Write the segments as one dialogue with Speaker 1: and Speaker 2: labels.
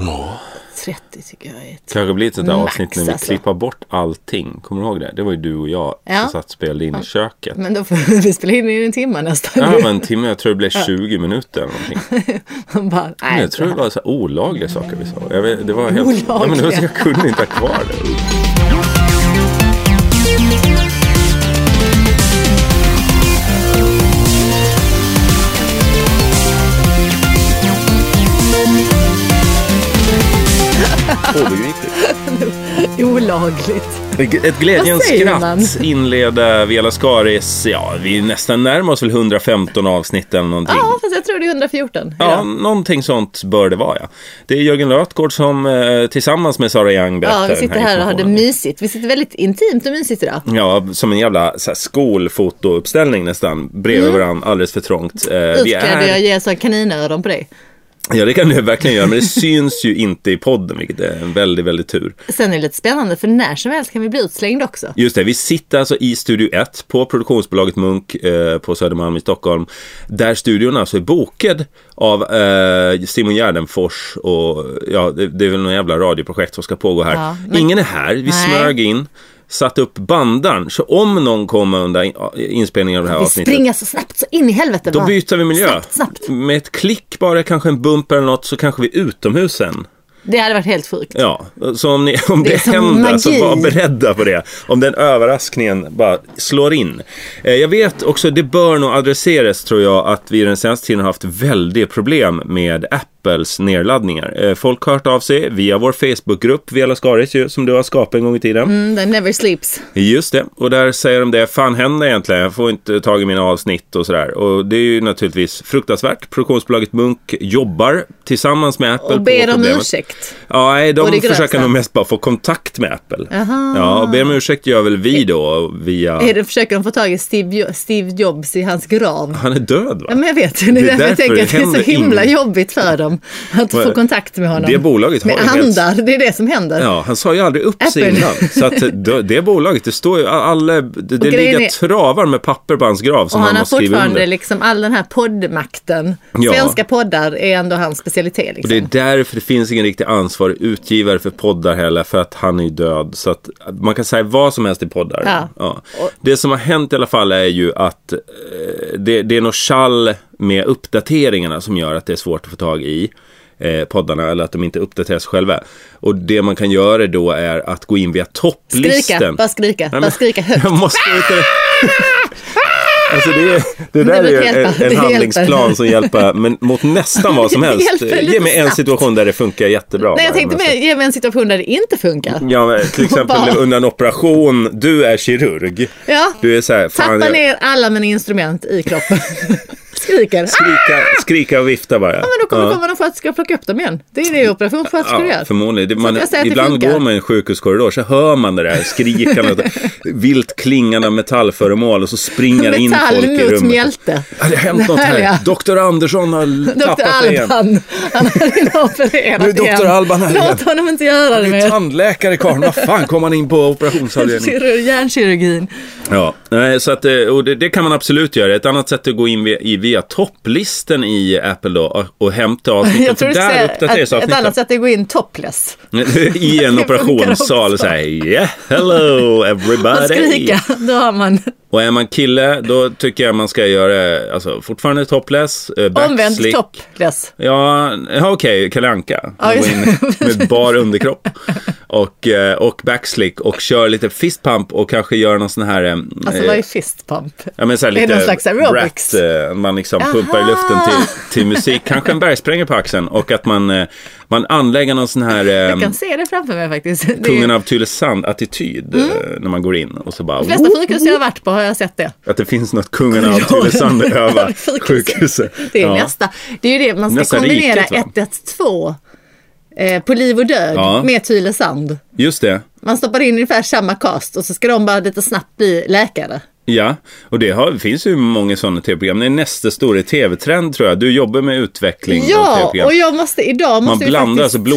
Speaker 1: Ja.
Speaker 2: 30 tycker jag är ett...
Speaker 3: Kanske blir ett sånt där
Speaker 2: Max,
Speaker 3: avsnitt när vi
Speaker 2: alltså.
Speaker 3: klippar bort allting. Kommer du ihåg det? Det var ju du och jag
Speaker 2: Ja. Mm.
Speaker 3: som satt och spelade in i köket.
Speaker 2: Men då får vi spela in i en timme nästan.
Speaker 3: Ja, men en timme, jag tror det blev 20 minuter eller någonting.
Speaker 2: Man bara, nej,
Speaker 3: Men jag tror det
Speaker 2: det
Speaker 3: var så här olagliga saker vi sa. Jag vet, det var helt...
Speaker 2: Olagliga.
Speaker 3: Ja, men det var så jag kunde inte ha kvar det. Obegripligt.
Speaker 2: här- olagligt.
Speaker 3: Ett
Speaker 2: Vad
Speaker 3: glädjens
Speaker 2: säger
Speaker 3: skratt
Speaker 2: man?
Speaker 3: inleder Vela Skaris, ja vi nästan närmar oss väl 115 avsnitt eller någonting.
Speaker 2: Ja, fast jag tror det är 114.
Speaker 3: Mm. Ja,
Speaker 2: idag.
Speaker 3: någonting sånt bör det vara ja. Det är Jörgen Lötgård som eh, tillsammans med Sara Young berättar
Speaker 2: ja, vi sitter
Speaker 3: den här
Speaker 2: här och har det
Speaker 3: informationen. Mm,
Speaker 2: mysigt. Vi sitter väldigt intimt och mysigt idag.
Speaker 3: Ja, som en jävla så här, skolfotouppställning nästan. Bredvid
Speaker 2: Mm.
Speaker 3: varandra, alldeles för trångt. Eh, vi
Speaker 2: Utklädd och jag
Speaker 3: är...
Speaker 2: ger så här kaninöron på dig.
Speaker 3: Ja, det kan du verkligen göra, men det syns ju inte i podden, vilket är en väldigt, väldigt tur.
Speaker 2: Sen är det lite spännande för när som helst kan vi bli utslängda också.
Speaker 3: Just det, vi sitter alltså i Studio 1 på produktionsbolaget Munk eh, på Södermalm i Stockholm. Där studion alltså är bokad av eh, Simon Gärdenfors och ja, det, det är väl något jävla radioprojekt som ska pågå här.
Speaker 2: Ja, men-
Speaker 3: Ingen är här, vi
Speaker 2: Nej.
Speaker 3: smög in, satte upp bandan. Så om någon kommer under in- eh, inspelningen av det här
Speaker 2: Vi
Speaker 3: avsnittet
Speaker 2: springer så snabbt så in i helvete.
Speaker 3: då
Speaker 2: bara.
Speaker 3: byter vi miljö.
Speaker 2: Snabbt, snabbt.
Speaker 3: Med ett klick bara, kanske en bumper eller något, så kanske vi är utomhus sen.
Speaker 2: Det hade varit helt sjukt.
Speaker 3: Ja, så om, ni, om
Speaker 2: Det
Speaker 3: det,
Speaker 2: är som
Speaker 3: händer så
Speaker 2: magi.
Speaker 3: var beredda på det. Om den överraskningen bara slår in. Eh, jag vet också, det bör nog adresseras tror jag, att vi den senaste tiden har haft väldigt problem med Apples nedladdningar. Eh, folk har hört av sig via vår Facebookgrupp, Vela Skaris ju, som du har skapat en gång i tiden.
Speaker 2: Mm, den never sleeps.
Speaker 3: Just det, och där säger de det, fan händer egentligen? Jag får inte tag i mina avsnitt och sådär. Och det är ju naturligtvis fruktansvärt. Produktionsbolaget Munk jobbar tillsammans med Apple
Speaker 2: Och ber
Speaker 3: på
Speaker 2: om
Speaker 3: problemet.
Speaker 2: ursäkt.
Speaker 3: Ja, nej,
Speaker 2: Och det
Speaker 3: de
Speaker 2: grösta.
Speaker 3: försöker nog mest bara få kontakt med Apple.
Speaker 2: Aha.
Speaker 3: Ja, och ber om ursäkt gör väl vi då via...
Speaker 2: Är det, försöker de få tag i Steve, Jo- Steve Jobs i hans grav?
Speaker 3: Han är död
Speaker 2: Ja,
Speaker 3: va?
Speaker 2: men jag vet, det är, därför jag
Speaker 3: därför
Speaker 2: tänker
Speaker 3: det
Speaker 2: att det är
Speaker 3: händer
Speaker 2: så himla
Speaker 3: inget.
Speaker 2: jobbigt för dem att få
Speaker 3: Men-
Speaker 2: kontakt med honom.
Speaker 3: Det bolaget har
Speaker 2: med
Speaker 3: ju helt-
Speaker 2: andar, det är det som händer.
Speaker 3: Ja, han sa ju aldrig upp sig
Speaker 2: Apple.
Speaker 3: innan. Så att det, det bolaget, det står ju alla, det, det
Speaker 2: grejen
Speaker 3: ligger
Speaker 2: är-
Speaker 3: travar med papper på hans grav
Speaker 2: Och
Speaker 3: som
Speaker 2: han
Speaker 3: han
Speaker 2: har
Speaker 3: måste skriva under.
Speaker 2: fortfarande liksom all den här poddmakten.
Speaker 3: Ja.
Speaker 2: Svenska poddar är ändå hans specialitet.
Speaker 3: Och
Speaker 2: Liksom.
Speaker 3: det är därför det finns ingen riktig ansvarig utgivare för poddar heller, för att han är ju död. Så att man kan säga vad som helst i poddar.
Speaker 2: Ja.
Speaker 3: Det som har hänt i alla fall är ju att eh, det, det är något tjall med uppdateringarna som gör att det är svårt att få tag i eh, poddarna eller att de inte uppdateras själva. Och det man kan göra då är att gå in via topplisten.
Speaker 2: Skrika, bara skrika,
Speaker 3: Nej,
Speaker 2: bara
Speaker 3: men-
Speaker 2: skrika högt.
Speaker 3: Jag måste inte... Alltså det, är- det där
Speaker 2: Det
Speaker 3: är ju
Speaker 2: brukar hjälpa.
Speaker 3: en,
Speaker 2: Det
Speaker 3: en
Speaker 2: hjälper.
Speaker 3: handlingsplan som hjälper men mot nästan vad som
Speaker 2: Det
Speaker 3: helst.
Speaker 2: hjälper lite
Speaker 3: Ge mig en
Speaker 2: snabbt.
Speaker 3: situation där det funkar jättebra.
Speaker 2: Nej, jag
Speaker 3: bara,
Speaker 2: tänkte
Speaker 3: men
Speaker 2: med,
Speaker 3: så-
Speaker 2: ge mig en situation där det inte funkar.
Speaker 3: Ja, men till
Speaker 2: Bara-
Speaker 3: exempel under en operation, du är kirurg.
Speaker 2: Ja.
Speaker 3: Du är så här, fan,
Speaker 2: Tappa
Speaker 3: jag,
Speaker 2: ner alla mina instrument i kroppen. Skriker. Ah!
Speaker 3: skrika, skrika och vifta bara. Ja,
Speaker 2: Men då kommer det komma någon sköterska och plocka upp dem igen. Det är det operationssköterskor
Speaker 3: Ja,
Speaker 2: gör.
Speaker 3: förmodligen. Det,
Speaker 2: Så
Speaker 3: man,
Speaker 2: att jag säger att det
Speaker 3: ibland
Speaker 2: funkar.
Speaker 3: går man i en sjukhuskorridor så hör man det där skrikandet, vilt klingande av metallföremål och så springer det in folk i
Speaker 2: Metall mot
Speaker 3: rummet.
Speaker 2: mjälte.
Speaker 3: Har det hänt något här?
Speaker 2: Härliga.
Speaker 3: Doktor Andersson har
Speaker 2: Dr.
Speaker 3: tappat det igen.
Speaker 2: Alban. Han har redan opererat
Speaker 3: Nu är Dr.
Speaker 2: igen.
Speaker 3: Alban här
Speaker 2: Låt
Speaker 3: igen.
Speaker 2: honom inte göra det
Speaker 3: Det är
Speaker 2: mer.
Speaker 3: tandläkare karln, vad fan kom han in på operationsavdelningen?
Speaker 2: Kirurg- Hjärnkirurgin.
Speaker 3: Ja, nej, så att, eh, och det, det kan man absolut göra. Ett annat sätt är att gå in via, i- via topplisten i Apple då och, och hämta avsnitten.
Speaker 2: Jag
Speaker 3: För
Speaker 2: tror du
Speaker 3: där
Speaker 2: säger
Speaker 3: uppdateras
Speaker 2: att ett
Speaker 3: avsnitten.
Speaker 2: annat sätt är att gå in topless.
Speaker 3: I en
Speaker 2: Det funkar
Speaker 3: operationssal
Speaker 2: också.
Speaker 3: så här, yeah, hello
Speaker 2: Och
Speaker 3: everybody.
Speaker 2: skrika, då har man
Speaker 3: Och är man kille, då tycker jag man ska göra, alltså fortfarande topless, eh,
Speaker 2: omvänd
Speaker 3: backslick.
Speaker 2: topless.
Speaker 3: Ja, ja, okej, Kalle Anka.
Speaker 2: Ja,
Speaker 3: Gå
Speaker 2: just-
Speaker 3: in med bar underkropp. Och, eh, och backslick och kör lite fistpump och kanske gör någon sån här... eh,
Speaker 2: Alltså vad är fistpump?
Speaker 3: Ja, men så här
Speaker 2: Det är
Speaker 3: lite
Speaker 2: någon slags aerobics.
Speaker 3: Rat, eh, man liksom
Speaker 2: Aha!
Speaker 3: pumpar i luften till, till musik. Kanske en bergsprängare på axeln och att man, eh, man anlägger någon sån här
Speaker 2: Jag
Speaker 3: eh,
Speaker 2: kan se det framför mig faktiskt. Det är-
Speaker 3: kungen av Tylösand-attityd eh, när man går in. Och så bara,
Speaker 2: Mm.
Speaker 3: "Oh,
Speaker 2: De flesta sjukhus jag har varit på har jag sett det.
Speaker 3: att det finns något kungen av Tylösand över sjukhuset.
Speaker 2: Det är
Speaker 3: Ja.
Speaker 2: nästa. Det är ju det, man ska
Speaker 3: Nästa
Speaker 2: kombinera
Speaker 3: riket, va?
Speaker 2: 112 eh, på liv och död
Speaker 3: Ja.
Speaker 2: med Tylösand.
Speaker 3: Just det.
Speaker 2: Man stoppar in ungefär samma cast och så ska de bara lite snabbt bli läkare.
Speaker 3: Ja, och det har, finns ju många sådana tv-program. Det är nästa stora tv-trend tror jag. Du jobbar med utveckling av
Speaker 2: Ja,
Speaker 3: tv-program.
Speaker 2: och jag måste idag
Speaker 3: Man
Speaker 2: måste vi
Speaker 3: blandar
Speaker 2: faktiskt...
Speaker 3: alltså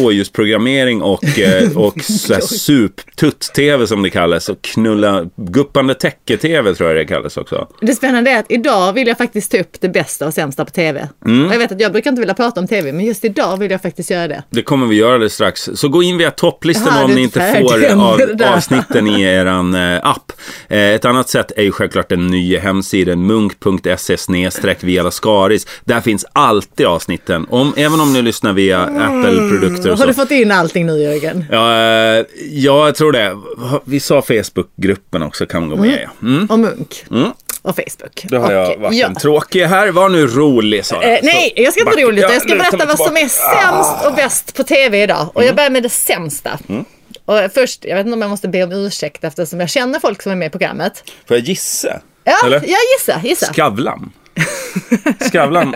Speaker 3: blåljusprogrammering och, eh, och så här sup-tutt-tv som det kallas. Och knulla, guppande täcke-tv tror jag det kallas också.
Speaker 2: Det spännande är att idag vill jag faktiskt ta upp det bästa och sämsta på tv.
Speaker 3: Mm.
Speaker 2: Och jag vet att jag brukar inte vilja prata om tv, men just idag vill jag faktiskt göra det.
Speaker 3: Det kommer vi göra alldeles strax. Så gå in via topplistan
Speaker 2: Jaha,
Speaker 3: om
Speaker 2: du
Speaker 3: ni
Speaker 2: är
Speaker 3: inte
Speaker 2: färdig
Speaker 3: får
Speaker 2: med
Speaker 3: av,
Speaker 2: det där.
Speaker 3: avsnitten i eran eh, app. Eh, ett annat sätt är ju självklart den nya hemsidan munk.se vialaskaris. Där finns alltid avsnitten. Om, även om ni lyssnar via Apple-produkter och
Speaker 2: Har
Speaker 3: så.
Speaker 2: du fått in allting nu Jörgen?
Speaker 3: Ja, eh, ja, jag tror det. Vi sa Facebookgruppen också kan gå med. ja. Mm.
Speaker 2: Och Munk? Och Facebook?
Speaker 3: Då har jag
Speaker 2: Okej,
Speaker 3: varit
Speaker 2: ja.
Speaker 3: en tråkig här. Var nu rolig Sara.
Speaker 2: Eh, nej, jag ska inte vara
Speaker 3: backa-
Speaker 2: rolig utan jag ska
Speaker 3: luta mig
Speaker 2: berätta vad som är
Speaker 3: tillbaka. Ah. Mm.
Speaker 2: sämst och bäst på tv idag. Och jag börjar med det sämsta. Och först, jag vet inte om jag måste be om ursäkt eftersom jag känner folk som är med i programmet.
Speaker 3: Får jag gissa?
Speaker 2: Ja,
Speaker 3: Eller?
Speaker 2: ja gissa, gissa.
Speaker 3: Skavlan. Skavlan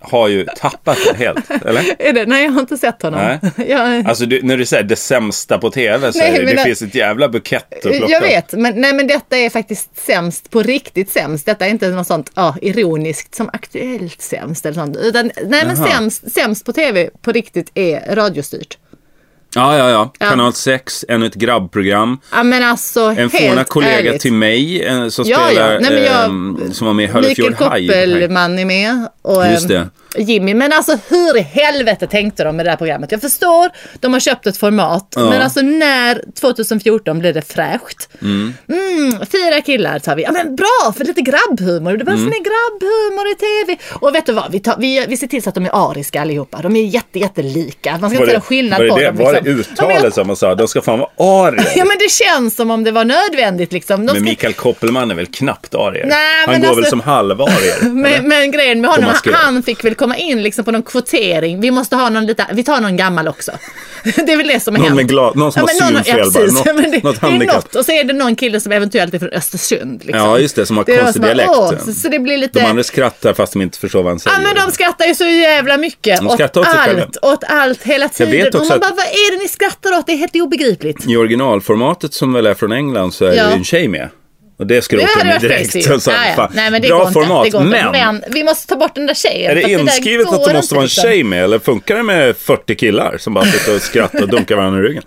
Speaker 3: har ju tappat det helt, eller?
Speaker 2: är det? Nej, jag har inte sett honom.
Speaker 3: Nej.
Speaker 2: Jag,
Speaker 3: Alltså du, när du säger det sämsta på tv så
Speaker 2: Nej,
Speaker 3: är det,
Speaker 2: men
Speaker 3: det
Speaker 2: jag-
Speaker 3: finns ett jävla bukett att plocka
Speaker 2: Eh, jag vet, men, nej, men detta är faktiskt sämst på riktigt sämst. Detta är inte något sånt ja, ironiskt som aktuellt sämst eller sånt. Utan, nej, men
Speaker 3: Jaha.
Speaker 2: sämst, sämst på tv på riktigt är radiostyrt.
Speaker 3: Ja, ja, ja.
Speaker 2: Ja.
Speaker 3: Kanal 6, ännu ett grabbprogram.
Speaker 2: Ja, men alltså
Speaker 3: En
Speaker 2: helt
Speaker 3: forna kollega
Speaker 2: ärligt.
Speaker 3: till mig eh, som
Speaker 2: Ja, ja.
Speaker 3: spelar,
Speaker 2: Nej, men jag-
Speaker 3: ehm, som var med i
Speaker 2: Mikael
Speaker 3: Höllefjord Haj.
Speaker 2: Koppelman är med. Och, eh,
Speaker 3: Just det.
Speaker 2: Jimmy. Men alltså hur i helvete tänkte de med det här programmet? Jag förstår, de har köpt ett format.
Speaker 3: Ja.
Speaker 2: Men alltså när 2014 blev det fräscht? Mm, fyra killar tar vi. Ja men bra, för lite grabbhumor. Det
Speaker 3: Mm.
Speaker 2: behövs mer grabbhumor i tv. Och vet du vad, vi, tar, vi, vi ser till så att de är ariska allihopa. De är jätte, jättelika. Man ska
Speaker 3: Var
Speaker 2: inte
Speaker 3: det,
Speaker 2: göra skillnad
Speaker 3: var det,
Speaker 2: på
Speaker 3: det,
Speaker 2: dem.
Speaker 3: var det
Speaker 2: liksom. Ja, men jag-
Speaker 3: uttalet som man sa? De ska fan vara arier.
Speaker 2: Ja men det känns som om det var nödvändigt liksom. De
Speaker 3: Men
Speaker 2: ska-
Speaker 3: Mikael Koppelman är väl knappt arier?
Speaker 2: Nej,
Speaker 3: Han
Speaker 2: men
Speaker 3: går väl
Speaker 2: alltså-
Speaker 3: som halvarier?
Speaker 2: Men, men grejen med
Speaker 3: Om
Speaker 2: honom,
Speaker 3: man ska-
Speaker 2: han fick väl komma in liksom på någon kvotering. Vi måste ha någon lite, vi tar någon gammal också. Det är väl det som har
Speaker 3: Någon
Speaker 2: hänt.
Speaker 3: med gla- någon som har
Speaker 2: någon-
Speaker 3: synfel bara.
Speaker 2: precis.
Speaker 3: Något-
Speaker 2: Men det,
Speaker 3: något
Speaker 2: det är
Speaker 3: handikapp.
Speaker 2: något. Och så är det någon kille som eventuellt är från Östersund. Liksom.
Speaker 3: Ja, just det, som har
Speaker 2: är
Speaker 3: konstig
Speaker 2: någon som bara,
Speaker 3: dialekt.
Speaker 2: "Åh", så, så det blir lite...
Speaker 3: De andra skrattar fast de inte förstår vad han säger.
Speaker 2: Ja men de skrattar ju så jävla mycket
Speaker 3: De
Speaker 2: åt
Speaker 3: skrattar åt sig själva.
Speaker 2: allt, åt allt hela tiden.
Speaker 3: vet
Speaker 2: och
Speaker 3: också
Speaker 2: man
Speaker 3: att-
Speaker 2: bara, vad är det ni skrattar åt? Det är helt obegripligt.
Speaker 3: I originalformatet som väl är från England så är
Speaker 2: Ja.
Speaker 3: det ju en tjej med. Och det
Speaker 2: Det
Speaker 3: skrotar
Speaker 2: hade
Speaker 3: de
Speaker 2: varit
Speaker 3: direkt.
Speaker 2: crazy.
Speaker 3: Så, så,
Speaker 2: Ja, ja.
Speaker 3: fan,
Speaker 2: Nej, men det
Speaker 3: bra
Speaker 2: går inte.
Speaker 3: format,
Speaker 2: Det går inte.
Speaker 3: men,
Speaker 2: men vi måste ta bort den där tjejen.
Speaker 3: är det
Speaker 2: för där
Speaker 3: inskrivet att
Speaker 2: går
Speaker 3: det måste vara en
Speaker 2: inte, liksom.
Speaker 3: tjej med eller funkar det med 40 killar som bara sitter och skrattar och dunkar varandra i ryggen?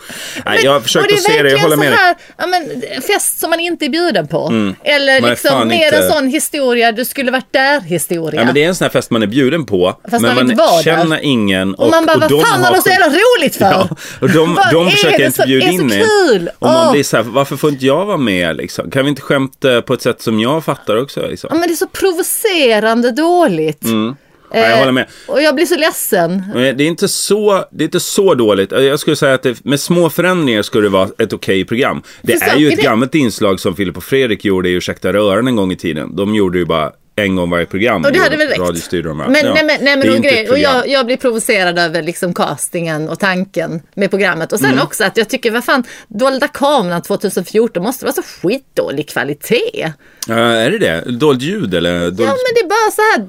Speaker 3: Nej, jag har
Speaker 2: och
Speaker 3: försökt
Speaker 2: det är
Speaker 3: att se det, jag
Speaker 2: verkligen
Speaker 3: håller med
Speaker 2: så
Speaker 3: dig. Mm.
Speaker 2: här, ja, men, Fest som man inte är bjuden på. Eller
Speaker 3: Man är
Speaker 2: liksom
Speaker 3: fan
Speaker 2: mer
Speaker 3: inte-
Speaker 2: en sån historia, du skulle varit där historia.
Speaker 3: Ja, men det är en sån här fest man är bjuden på,
Speaker 2: Fast
Speaker 3: men
Speaker 2: man
Speaker 3: man,
Speaker 2: inte var där.
Speaker 3: känner ingen.
Speaker 2: och, man bara, vad
Speaker 3: de
Speaker 2: fan har de så
Speaker 3: skit-
Speaker 2: jävla roligt för?
Speaker 3: Ja, och de,
Speaker 2: Vad
Speaker 3: de
Speaker 2: är
Speaker 3: försöker
Speaker 2: det
Speaker 3: inte
Speaker 2: som
Speaker 3: bjuda
Speaker 2: är
Speaker 3: in
Speaker 2: så
Speaker 3: i.
Speaker 2: kul?
Speaker 3: Och man
Speaker 2: Åh.
Speaker 3: blir så här, varför får inte jag vara med liksom? Kan vi inte skämta på ett sätt som jag fattar också? Liksom?
Speaker 2: Ja, men det är så provocerande dåligt.
Speaker 3: Mm.
Speaker 2: Eh,
Speaker 3: Ja, jag håller med.
Speaker 2: Och jag blir så ledsen.
Speaker 3: Men Det är inte så, det är inte så dåligt. Jag skulle säga att det, med små förändringar skulle det vara ett okej program. Det
Speaker 2: För
Speaker 3: är ju ett
Speaker 2: saker är-
Speaker 3: gammalt inslag som Filip och Fredrik gjorde i Ursäkta röran en gång i tiden. De gjorde ju bara en gång varje program.
Speaker 2: Och det hade
Speaker 3: Gjorde-
Speaker 2: väl räckt.
Speaker 3: radiostyrde de här.
Speaker 2: men,
Speaker 3: Ja.
Speaker 2: nej, men, nej,
Speaker 3: Det är
Speaker 2: men och,
Speaker 3: inte ett
Speaker 2: grej, och
Speaker 3: program.
Speaker 2: jag, jag blir provocerad över liksom castingen och tanken med programmet. Och sen
Speaker 3: Mm.
Speaker 2: också att jag tycker, vad fan, Dolda kameran 2014 måste vara så skitdålig kvalitet.
Speaker 3: Ja, är det det? Dolt ljud eller? Dolt...
Speaker 2: Ja men det är bara så här,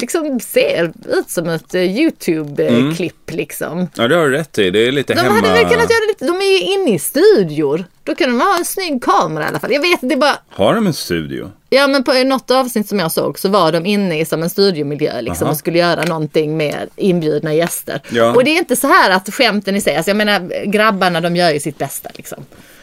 Speaker 2: liksom ser ut som ett eh, YouTube-klipp liksom.
Speaker 3: Ja, det har du rätt i. Det är lite
Speaker 2: De
Speaker 3: Mm. hemma...
Speaker 2: hade väl kunnat göra lite, de är ju inne i studior. Då kan de ha en snygg kamera i alla fall. Jag vet det är bara,
Speaker 3: Har de en studio?
Speaker 2: ja men på något avsnitt som jag såg så var de inne i som en studiomiljö liksom
Speaker 3: Aha.
Speaker 2: och skulle göra någonting med inbjudna gäster.
Speaker 3: Ja.
Speaker 2: Och det är inte så här att skämten i sig, alltså jag menar grabbarna de gör ju sitt bästa liksom.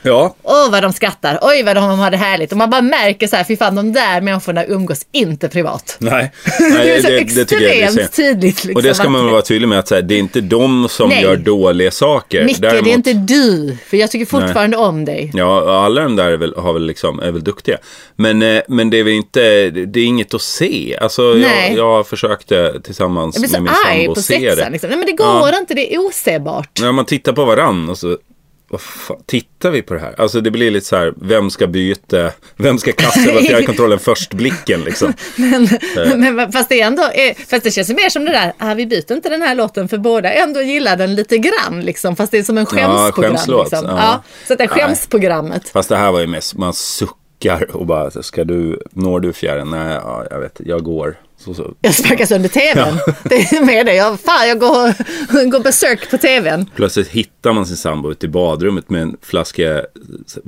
Speaker 3: Ja,
Speaker 2: Åh vad de skrattar, oj vad de har det härligt. Och man bara märker så här, fy fan de där människorna umgås inte privat.
Speaker 3: nej.
Speaker 2: Det
Speaker 3: nej
Speaker 2: är så extremt
Speaker 3: synd.
Speaker 2: tydligt. Liksom,
Speaker 3: Och det ska man
Speaker 2: att-
Speaker 3: vara tydlig med att så här, det är inte de som
Speaker 2: Nej.
Speaker 3: gör dåliga saker.
Speaker 2: Micke, det är
Speaker 3: Däremot-
Speaker 2: inte du. För jag tycker fortfarande om dig.
Speaker 3: Ja, alla de där är väl, har väl liksom, är väl duktiga. Men, eh, men det är väl inte, det är inget att se. Alltså jag,
Speaker 2: Nej.
Speaker 3: jag försökte tillsammans
Speaker 2: Jag blir
Speaker 3: med min
Speaker 2: så arg
Speaker 3: sambo
Speaker 2: på
Speaker 3: se
Speaker 2: sexan.
Speaker 3: det.
Speaker 2: Liksom. Nej men det går inte, det är osebart.
Speaker 3: När man tittar på varann och så, vad fan, tittar vi på det här? Alltså det blir lite så här, vem ska byta, vem ska kasta över fjärrkontrollen först blicken liksom?
Speaker 2: Men, fast, det är ändå, eh, fast det känns ju mer som det där, ah, vi byter inte den här låten för båda ändå gillar den lite grann. Liksom, fast det är som en skämsprogram.
Speaker 3: skämslåt,
Speaker 2: liksom.
Speaker 3: ja.
Speaker 2: Ja, så att det är
Speaker 3: Nej.
Speaker 2: skämsprogrammet.
Speaker 3: Fast det här var ju mest, man suckar och bara, ska du, når du fjärren? Nej, ja, jag vet, jag går. Så, så.
Speaker 2: Jag sparkar sönder tvn. Det är med det. Jag, fan, jag går, går besök på tvn.
Speaker 3: Plötsligt hittar man sin sambo ute i badrummet med en flaska s-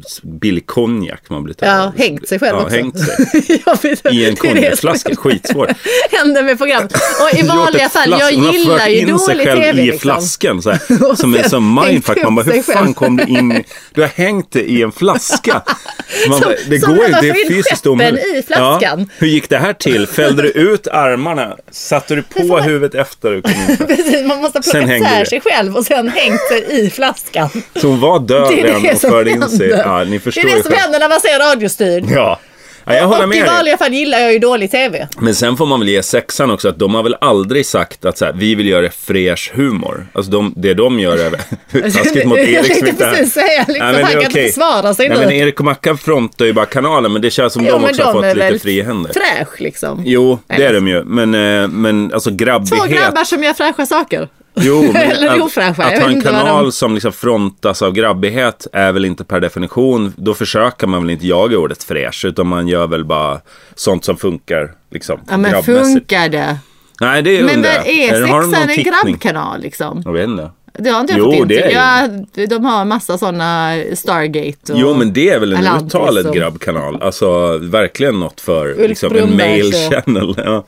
Speaker 3: s- billig konjak. Man blir
Speaker 2: Ja, hängt sig själv
Speaker 3: ja,
Speaker 2: också.
Speaker 3: Hängt sig.
Speaker 2: Jag vet-
Speaker 3: I
Speaker 2: det är
Speaker 3: en
Speaker 2: det som
Speaker 3: konjakflaska, skitsvårt.
Speaker 2: händer med programmet. Och i
Speaker 3: Gjort
Speaker 2: vanliga
Speaker 3: ett
Speaker 2: fall,
Speaker 3: flask-
Speaker 2: jag
Speaker 3: hon har
Speaker 2: gillar
Speaker 3: fört
Speaker 2: ju
Speaker 3: in sig
Speaker 2: dålig
Speaker 3: själv
Speaker 2: tv.
Speaker 3: i
Speaker 2: liksom.
Speaker 3: flaskan så här, som en
Speaker 2: sen
Speaker 3: som mindfuck.
Speaker 2: hängt
Speaker 3: Man bara,
Speaker 2: upp
Speaker 3: hur
Speaker 2: sig
Speaker 3: fan
Speaker 2: själv."
Speaker 3: kom du in? i- Du har hängt dig i en flaska. Man
Speaker 2: Som-
Speaker 3: bara, det
Speaker 2: som
Speaker 3: går
Speaker 2: när
Speaker 3: ju,
Speaker 2: man
Speaker 3: det
Speaker 2: får
Speaker 3: är
Speaker 2: in
Speaker 3: fysiskt
Speaker 2: skeppen
Speaker 3: omöjligt.
Speaker 2: i flaskan.
Speaker 3: Ja. Hur gick det här till? Fällde du ut armarna? Satte du på huvudet efter? du kom in?
Speaker 2: Precis, man måste
Speaker 3: Sen
Speaker 2: plocka
Speaker 3: hängde
Speaker 2: isär
Speaker 3: det.
Speaker 2: sig själv och sen hängt sig i flaskan.
Speaker 3: Så hon var död
Speaker 2: Det är
Speaker 3: redan
Speaker 2: det
Speaker 3: och
Speaker 2: som
Speaker 3: förde in sig.
Speaker 2: händer.
Speaker 3: Ja, ni
Speaker 2: Det
Speaker 3: förstår
Speaker 2: är
Speaker 3: ju
Speaker 2: det som
Speaker 3: själv.
Speaker 2: händer när man ser radiostyrd.
Speaker 3: Ja. ja, jag håller
Speaker 2: Och i
Speaker 3: med dig.
Speaker 2: vanliga fall gillar jag ju dålig tv.
Speaker 3: Men sen får man väl ge sexan också att de har väl aldrig sagt att så här, vi vill göra fräsch humor. Alltså de, det de gör är väl taskigt mot
Speaker 2: Jag
Speaker 3: Erik
Speaker 2: tänkte
Speaker 3: Smittar.
Speaker 2: precis säga, liksom,
Speaker 3: men
Speaker 2: han
Speaker 3: det är
Speaker 2: kan inte
Speaker 3: okej.
Speaker 2: försvara sig
Speaker 3: Nej,
Speaker 2: nu.
Speaker 3: men Erik och Mackan frontar ju bara kanalen men det känns som de också har fått lite fria händer.
Speaker 2: fräsch liksom.
Speaker 3: Jo, det
Speaker 2: Eller?
Speaker 3: är de ju. Men, eh, men alltså grabbighet.
Speaker 2: Två grabbar som gör fräscha saker.
Speaker 3: Jo, men
Speaker 2: Eller
Speaker 3: att,
Speaker 2: ofräscha, jag
Speaker 3: att ha
Speaker 2: vet
Speaker 3: en
Speaker 2: inte vad de-
Speaker 3: kanal som liksom frontas av grabbighet är väl inte per definition, då försöker man väl inte jaga ordet fräsch, utan man gör väl bara sånt som funkar. Liksom,
Speaker 2: Ja men
Speaker 3: grabbmässigt.
Speaker 2: funkar det?
Speaker 3: Nej, det
Speaker 2: Men
Speaker 3: undrar
Speaker 2: vad
Speaker 3: jag.
Speaker 2: är
Speaker 3: Eller har de någon
Speaker 2: sexan en
Speaker 3: tippning?
Speaker 2: grabbkanal liksom?
Speaker 3: Jag vet inte.
Speaker 2: Det har inte jag
Speaker 3: Jo,
Speaker 2: fått in
Speaker 3: det
Speaker 2: till.
Speaker 3: är ju-
Speaker 2: Jag, de har en massa sådana Stargate och...
Speaker 3: Jo, men det är väl en
Speaker 2: Atlantis
Speaker 3: uttalad
Speaker 2: och-
Speaker 3: grabbkanal. Alltså, verkligen något för
Speaker 2: Ulf
Speaker 3: liksom, en
Speaker 2: Brunnberg,
Speaker 3: male
Speaker 2: så.
Speaker 3: channel. Ja.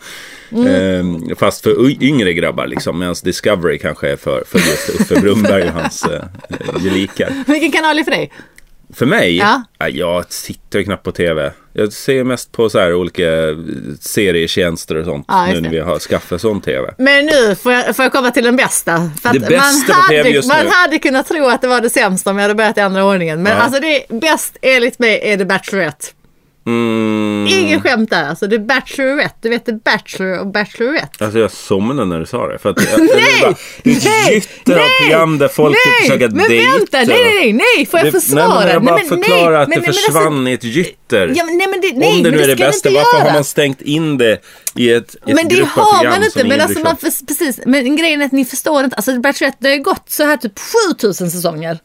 Speaker 2: Mm.
Speaker 3: Ehm, fast för y- yngre grabbar, liksom. Medan Discovery kanske är för, för just Uffe Brunnberg och hans eh, eh, gelikar.
Speaker 2: Vilken kanal är för dig?
Speaker 3: För mig?
Speaker 2: Ja.
Speaker 3: Ja, jag tittar ju knappt på tv. Jag ser mest på så här olika serietjänster och sånt.
Speaker 2: Ja, just
Speaker 3: nu när
Speaker 2: det.
Speaker 3: vi har skaffat sån tv.
Speaker 2: Men nu får jag, får jag komma till den bästa. För
Speaker 3: Det bästa på
Speaker 2: man
Speaker 3: TV
Speaker 2: hade,
Speaker 3: just
Speaker 2: Man
Speaker 3: nu.
Speaker 2: hade kunnat tro att det var det sämsta om jag hade börjat i andra ordningen. Men
Speaker 3: Ja.
Speaker 2: alltså det är, bäst enligt mig är The Bachelorette.
Speaker 3: Mm.
Speaker 2: Ingen skämt där alltså. The Bachelorette. Du vet The Bachelor och Bachelorette.
Speaker 3: Alltså jag somnade när du sa det. För att, jag, nej! Bara, det är ett
Speaker 2: nej,
Speaker 3: gytter av program där folk typ
Speaker 2: nej,
Speaker 3: försöker
Speaker 2: men
Speaker 3: dejta.
Speaker 2: vänta, nej, nej, nej, nej, får jag
Speaker 3: Det-
Speaker 2: försvara?
Speaker 3: Nej, men jag bara
Speaker 2: nej, men,
Speaker 3: förklarar
Speaker 2: nej,
Speaker 3: att
Speaker 2: men,
Speaker 3: det
Speaker 2: men
Speaker 3: försvann
Speaker 2: Alltså,
Speaker 3: i ett gytter.
Speaker 2: ja, men, nej, men det, nej,
Speaker 3: Om det nu
Speaker 2: men
Speaker 3: är det
Speaker 2: ska man
Speaker 3: bästa,
Speaker 2: inte
Speaker 3: varför har
Speaker 2: göra.
Speaker 3: man stängt in det i ett, i ett
Speaker 2: Men det
Speaker 3: grupp av
Speaker 2: har
Speaker 3: program
Speaker 2: man inte.
Speaker 3: som
Speaker 2: Men,
Speaker 3: liksom- ingen
Speaker 2: alltså
Speaker 3: bryr sig
Speaker 2: man,
Speaker 3: om?
Speaker 2: för- precis, men grejen är att ni förstår inte. Alltså Bachelorette, det har ju gått så här typ 7000 säsonger.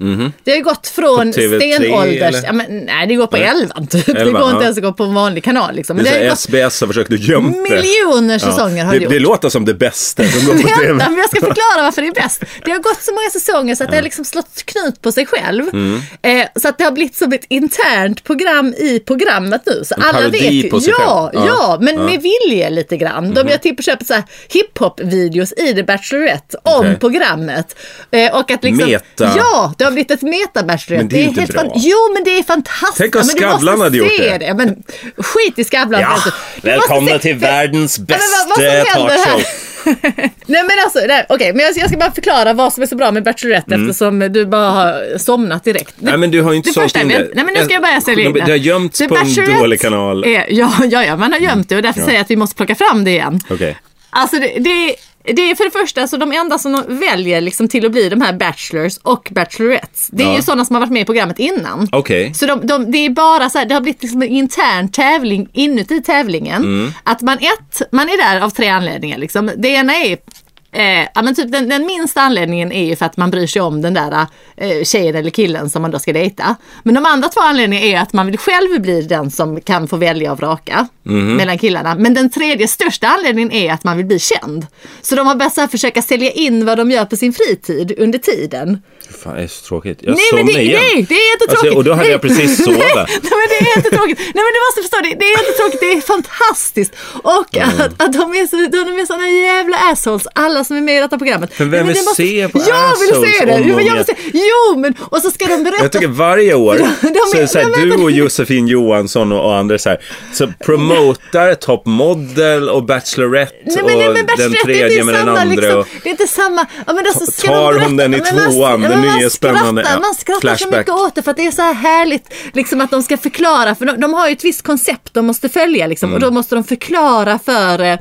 Speaker 2: Det har ju gått från
Speaker 3: Mhm. På TV3
Speaker 2: stenålders...
Speaker 3: eller?
Speaker 2: Ja, men, nej, det går på 11 typ. det
Speaker 3: Elvan,
Speaker 2: går inte
Speaker 3: ja.
Speaker 2: ens att gå på en vanlig kanal liksom. Men
Speaker 3: Det
Speaker 2: det,
Speaker 3: är så
Speaker 2: har ju
Speaker 3: här,
Speaker 2: gått
Speaker 3: SBS har försökt att gömt det.
Speaker 2: miljoner säsonger. Har
Speaker 3: det,
Speaker 2: det,
Speaker 3: det
Speaker 2: gjort.
Speaker 3: låter som det bästa som går på tv.
Speaker 2: Vänta, men jag ska förklara varför det är bäst. Det har gått så många säsonger så att det har liksom slått knut på sig själv.
Speaker 3: Mm.
Speaker 2: Eh, så att det har blivit som ett internt program i programmet nu. Så en alla
Speaker 3: parodi
Speaker 2: vet ju,
Speaker 3: på sig
Speaker 2: ja,
Speaker 3: själv.
Speaker 2: ja,
Speaker 3: Ja. Mhm.
Speaker 2: men med vilje lite grann. De gör till på köpet så här hiphop-videos i The Bachelorette om
Speaker 3: Okej.
Speaker 2: programmet. Eh, och att liksom,
Speaker 3: Meta.
Speaker 2: Ja, det har blivit ett meta-Bachelorette.
Speaker 3: Men det är inte bra.
Speaker 2: fan- Jo, men det är fantastiskt.
Speaker 3: Tänk om
Speaker 2: Ja, men du måste
Speaker 3: Skavlan hade gjort
Speaker 2: se
Speaker 3: det.
Speaker 2: Men, skit i Skavlan.
Speaker 3: Ja,
Speaker 2: alltså. Du måste
Speaker 3: välkomna
Speaker 2: se-
Speaker 3: till världens
Speaker 2: Ja, men vad- vad som
Speaker 3: bästa
Speaker 2: händer här?
Speaker 3: talkshow.
Speaker 2: Nej men alltså, nej, okej, men jag, jag ska bara förklara vad som är så bra med Bachelorette eftersom du bara har somnat direkt.
Speaker 3: Mm. Nej men du har ju inte
Speaker 2: det
Speaker 3: sålt
Speaker 2: första,
Speaker 3: in
Speaker 2: men,
Speaker 3: det.
Speaker 2: nej men nu ska jag börja sälja in
Speaker 3: det.
Speaker 2: det.
Speaker 3: Det har gömts
Speaker 2: Det
Speaker 3: på en
Speaker 2: Bachelorette
Speaker 3: dålig kanal.
Speaker 2: Är, ja, ja, ja, man har gömt det och därför säger jag att vi måste plocka fram det igen.
Speaker 3: Okej.
Speaker 2: Alltså det, det, det är för det första så de enda som de väljer liksom till att bli de här Bachelors och Bachelorettes, det är
Speaker 3: Ja.
Speaker 2: ju sådana som har varit med i programmet innan.
Speaker 3: Okej.
Speaker 2: Så de, de, det är bara så här, det har blivit liksom en intern tävling inuti tävlingen. Att man ett, man är där av tre anledningar liksom. Det ena är Eh, ja, men typ den, den minsta anledningen är ju för att man bryr sig om den där eh, tjejen eller killen som man då ska dejta. Men de andra två anledningarna är att man vill själv bli den som kan få välja och vraka mellan killarna. Men den tredje största anledningen är att man vill bli känd. Så de har börjat så här försöka sälja in vad de gör på sin fritid under tiden.
Speaker 3: Fan, det är så tråkigt. Jag
Speaker 2: Nej men
Speaker 3: somnar
Speaker 2: det,
Speaker 3: igen.
Speaker 2: nej, det är jättetråkigt.
Speaker 3: Alltså, och då hade
Speaker 2: nej.
Speaker 3: jag precis sovit.
Speaker 2: Nej, nej, men det är jättetråkigt. Nej men du måste förstå, det, det är jättetråkigt. Det är fantastiskt. Och
Speaker 3: Mm.
Speaker 2: att, att de är så, de är såna jävla assholes, alla som är med i detta programmet.
Speaker 3: Men vem
Speaker 2: Nej,
Speaker 3: vill
Speaker 2: det måste-
Speaker 3: se på
Speaker 2: Jag vill
Speaker 3: assholes
Speaker 2: se det.
Speaker 3: om
Speaker 2: Jo men
Speaker 3: de
Speaker 2: jag vill se. Jo men, och så ska de berätta.
Speaker 3: Jag tycker varje år
Speaker 2: de
Speaker 3: så är det
Speaker 2: är-
Speaker 3: så här,
Speaker 2: de är-
Speaker 3: du och Josefin Johansson och, och andra så här, så promotar Top Model och Bachelorette
Speaker 2: Nej men, nej, men
Speaker 3: och den
Speaker 2: Bachelorette, det är
Speaker 3: tredje
Speaker 2: inte
Speaker 3: med den
Speaker 2: samma
Speaker 3: andra.
Speaker 2: liksom.
Speaker 3: och,
Speaker 2: Det är inte samma. Ja, men alltså, ska
Speaker 3: Tar
Speaker 2: de
Speaker 3: hon den i
Speaker 2: berätta- men man-
Speaker 3: tvåan,
Speaker 2: ja,
Speaker 3: den
Speaker 2: men man
Speaker 3: nya spännande,
Speaker 2: Skrattar,
Speaker 3: ja,
Speaker 2: man skrattar så
Speaker 3: flashback.
Speaker 2: mycket åt det för att det är så här härligt liksom, att de ska förklara.
Speaker 3: Mm.
Speaker 2: För de, de har ju ett visst koncept de måste följa liksom, och då måste de förklara för eh,